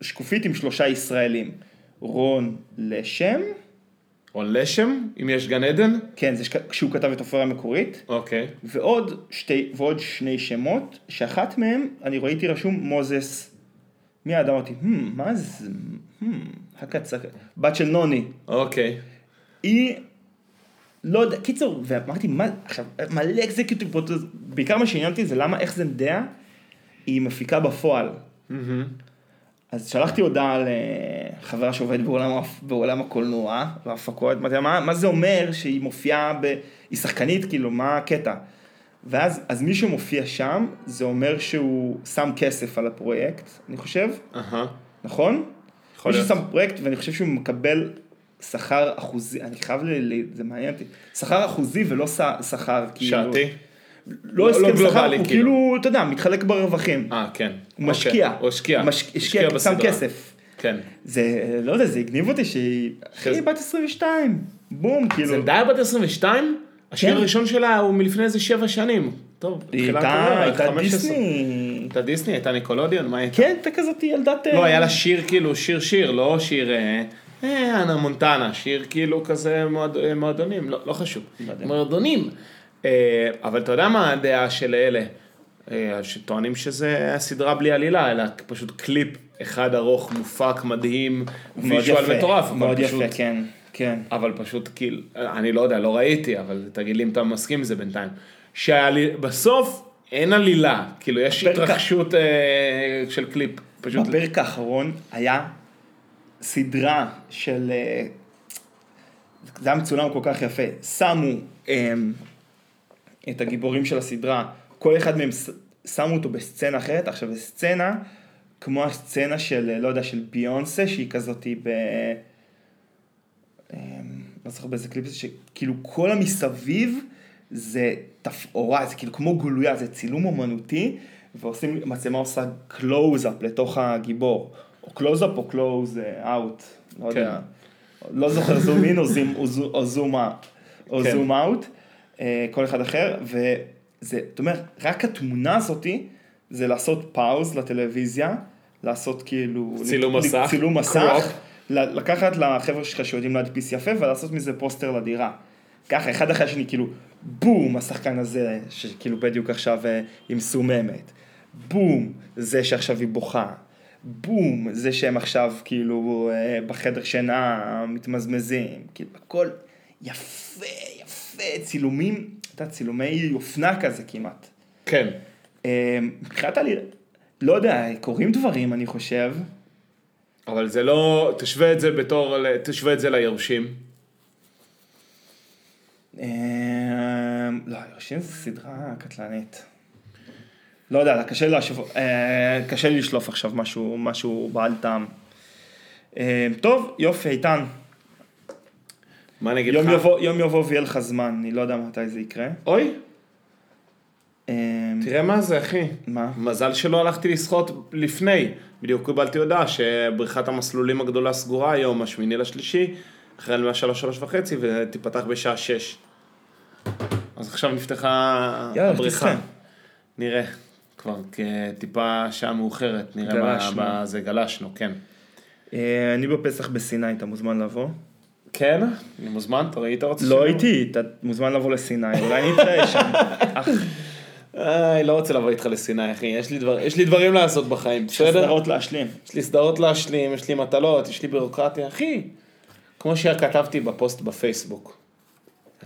S1: שקופית עם שלושה ישראלים, רון לשם,
S2: רון לשם, אם יש גן עדן?
S1: כן, זה שכ- כשהוא כתב את הפריה המקורית,
S2: אוקיי.
S1: ועוד, שתי, ועוד שני שמות, שאחת מהם, אני ראיתי רשום מוזס. מיד אמרתי, "הם, "Hmm, מה זה, הם, הקצה, בת של נוני.
S2: אוקיי.
S1: היא, לא יודע, קיצור, ואמרתי, מה, עכשיו, מלא אקזקיוטיב פרוטוז, בעיקר מה שעניין אותי זה למה, איך זה מדע, היא מפיקה בפועל. אז שלחתי הודעה לחברה שעובדת בעולם, ה- בעולם הקולנוע וההפקות, אמרתי לה, מה, מה זה אומר שהיא מופיעה, ב... היא שחקנית, כאילו, מה הקטע? ואז, אז מי שמופיע שם, זה אומר שהוא שם כסף על הפרויקט, אני חושב,
S2: אהה.
S1: נכון?
S2: יכול
S1: מי
S2: להיות.
S1: ששם פרויקט, ואני חושב שהוא מקבל שכר אחוזי, אני חייב, ל... ל- זה מעניין אותי, שכר אחוזי ולא ש... שכר, כאילו,
S2: שעתי?
S1: לא
S2: לא
S1: הסכם שכר,
S2: גלובלי,
S1: הוא
S2: כאילו.
S1: כאילו, אתה יודע, מתחלק ברווחים,
S2: אה, כן.
S1: הוא משקיע,
S2: אוקיי, הוא השקיע.
S1: מש- השקיע, שם
S2: בסדרה.
S1: כסף,
S2: כן.
S1: זה, לא יודע, זה הגניב אותי שהיא,
S2: אחרי
S1: אחי,
S2: זה-
S1: בת 22, בום, כאילו,
S2: זנדאיה בת 22? השיר
S1: כן.
S2: הראשון שלה הוא מלפני איזה שבע שנים. טוב,
S1: היא
S2: תחילת
S1: הייתה
S2: הקריירה,
S1: הייתה
S2: 15.
S1: דיסני,
S2: הייתה דיסני, הייתה ניקולודיון, מה הייתה?
S1: כן, הייתה כזאת ילדת,
S2: לא, היה לה שיר כאילו, שיר שיר, לא שיר אה, אה, אנה מונטנה, שיר כאילו כזה מועד- אה, מועדונים, לא לא חשוב.
S1: לא יודע.
S2: מועדונים. אה, אבל אתה יודע מה הדעה של אלה, אה, שטוענים שזה הסדרה בלי עלילה, אלא פשוט קליפ אחד ארוך, מופק, מדהים,
S1: מאוד יפה,
S2: ויז'ואל מטורף. אבל
S1: מאוד
S2: פשוט-
S1: יפה, כן, כן.
S2: אבל פשוט כאילו, אני לא יודע, לא ראיתי, אבל תגיד לי אם אתה מסכים עם זה בינתיים. שבסוף אין עלילה, כאילו יש
S1: בפרק ה-
S2: התרחשות אה, של קליפ. פשוט
S1: בפרק האחרון היה סדרה של... אה, זה היה מצולם כל כך יפה. שמו אמ, את הגיבורים של הסדרה, כל אחד מהם ש- שמו אותו בסצנה אחרת. עכשיו, זו סצנה כמו הסצנה של, אה, לא יודע, של ביונסה, שהיא כזאתי ב... אמ, לא זוכר באיזה קליפ זה, שכאילו כל המסביב זה תפאורה, זה כאילו כמו גלויה, זה צילום אומנותי, ועושים, מצלמה עושה קלוז-אפ לתוך הגיבור, או קלוז-אפ או קלוז-אאוט, לא
S2: כן.
S1: יודע, לא זוכר זום אין או זים- או זו- או זום אה- או
S2: כן.
S1: זום אאוט, אה, כל אחד אחר, וזה, זאת אומרת, רק התמונה הזאתי, זה לעשות פאוז לטלוויזיה, לעשות כאילו...
S2: צילום
S1: לק-
S2: מסך,
S1: צילום
S2: קרופ.
S1: מסך, ל- לקחת לחבר'ה שלך שיודעים להדפיס יפה ולעשות מזה פוסטר לדירה. ככה, אחד אחרי השני, כאילו, בום, השחקן הזה, שכאילו בדיוק עכשיו אה, היא מסוממת. בום, זה שעכשיו היא בוכה. בום, זה שהם עכשיו כאילו אה, בחדר שינה מתמזמזים. כאילו, הכל יפה, יפה, צילומים, אתה יודע, צילומי אופנה כזה כמעט.
S2: כן.
S1: אה, מבחינת עלילה, לא יודע, קורים דברים, אני חושב.
S2: אבל זה לא, תשווה את זה בתור, ל- תשווה את זה ליורשים.
S1: אה, לא, יורשים זו סדרה קטלנית. לא יודע, קשה להשו- אה, קשה לי לשלוף עכשיו משהו, משהו בעל טעם. אה, טוב, יופי, איתן.
S2: מה אני אגיד לך?
S1: יום יבוא, יום יבוא ויהיה לך זמן, אני לא יודע מתי זה יקרה.
S2: אוי,
S1: אה,
S2: תראה מה זה, אחי.
S1: מה?
S2: מזל שלא הלכתי לשחות לפני. בדיוק קיבלתי הודעה שבריכת המסלולים הגדולה סגורה היום, השמיני לשלישי, החל מהשלוש, שלוש וחצי, ותיפתח בשעה שש. אז עכשיו נפתחה
S1: יאללה,
S2: הבריכה.
S1: תסחה.
S2: נראה. כבר כ- טיפה שעה מאוחרת, נראה מה
S1: גלשנו.
S2: מה זה גלשנו, כן.
S1: אה, אני בפסח בסיני, אתה מוזמן לבוא?
S2: כן? אני מוזמן, אתה ראית רוצה
S1: לא הייתי, אתה מוזמן לבוא לסיני, אולי נתראה שם.
S2: איי, לא רוצה לבוא איתך לסיני, אחי. יש לי, דבר, יש לי דברים לעשות בחיים, בסדר?
S1: סדרות להשלים.
S2: יש לי סדרות להשלים, יש לי מטלות, יש לי בירוקרטיה. אחי, כמו שכתבתי בפוסט בפייסבוק.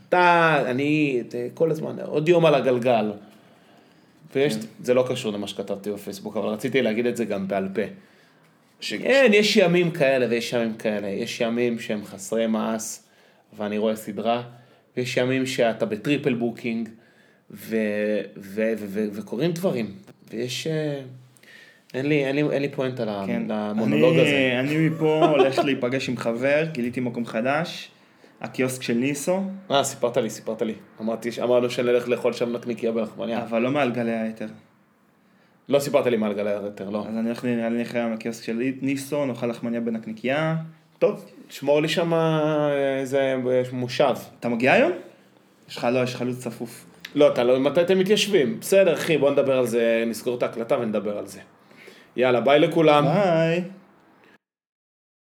S2: אתה, אני, את- כל הזמן, עוד יום על הגלגל.
S1: כן.
S2: ויש, זה לא קשור למה שכתבתי בפייסבוק, אבל רציתי להגיד את זה גם בעל פה. שכן, יש ימים כאלה ויש ימים כאלה. יש ימים שהם חסרי מעש, ואני רואה סדרה, ויש ימים שאתה בטריפל בוקינג, ו- ו- ו- ו- וקורים דברים. ויש... אה, אין לי, אין לי, אין לי פואנטה ל-
S1: כן.
S2: למונולוג
S1: אני-
S2: הזה.
S1: אני מפה הולך להיפגש עם חבר, גיליתי מקום חדש, הקיוסק של ניסו,
S2: אה, סיפרת לי, סיפרת לי. אמרתי, ש- אמרנו שנלך לאכול שם נקניקיה ברחמניה.
S1: אבל לא מעל גלי היתר.
S2: לא סיפרת לי מה על גלי היתר, לא.
S1: אז אני הולך אני הולך היום לקיוסק של ניסו, נאכל לחמניה בנקניקייה. טוב,
S2: שמור לי שם אה, איזה אה, מושב.
S1: אתה מגיע היום? יש לך, לא, יש חלוץ צפוף.
S2: לא, אתה לא, מתי אתם מתיישבים? בסדר, אחי, בוא נדבר על זה, נסגור את ההקלטה ונדבר על זה. יאללה, ביי לכולם.
S1: ביי.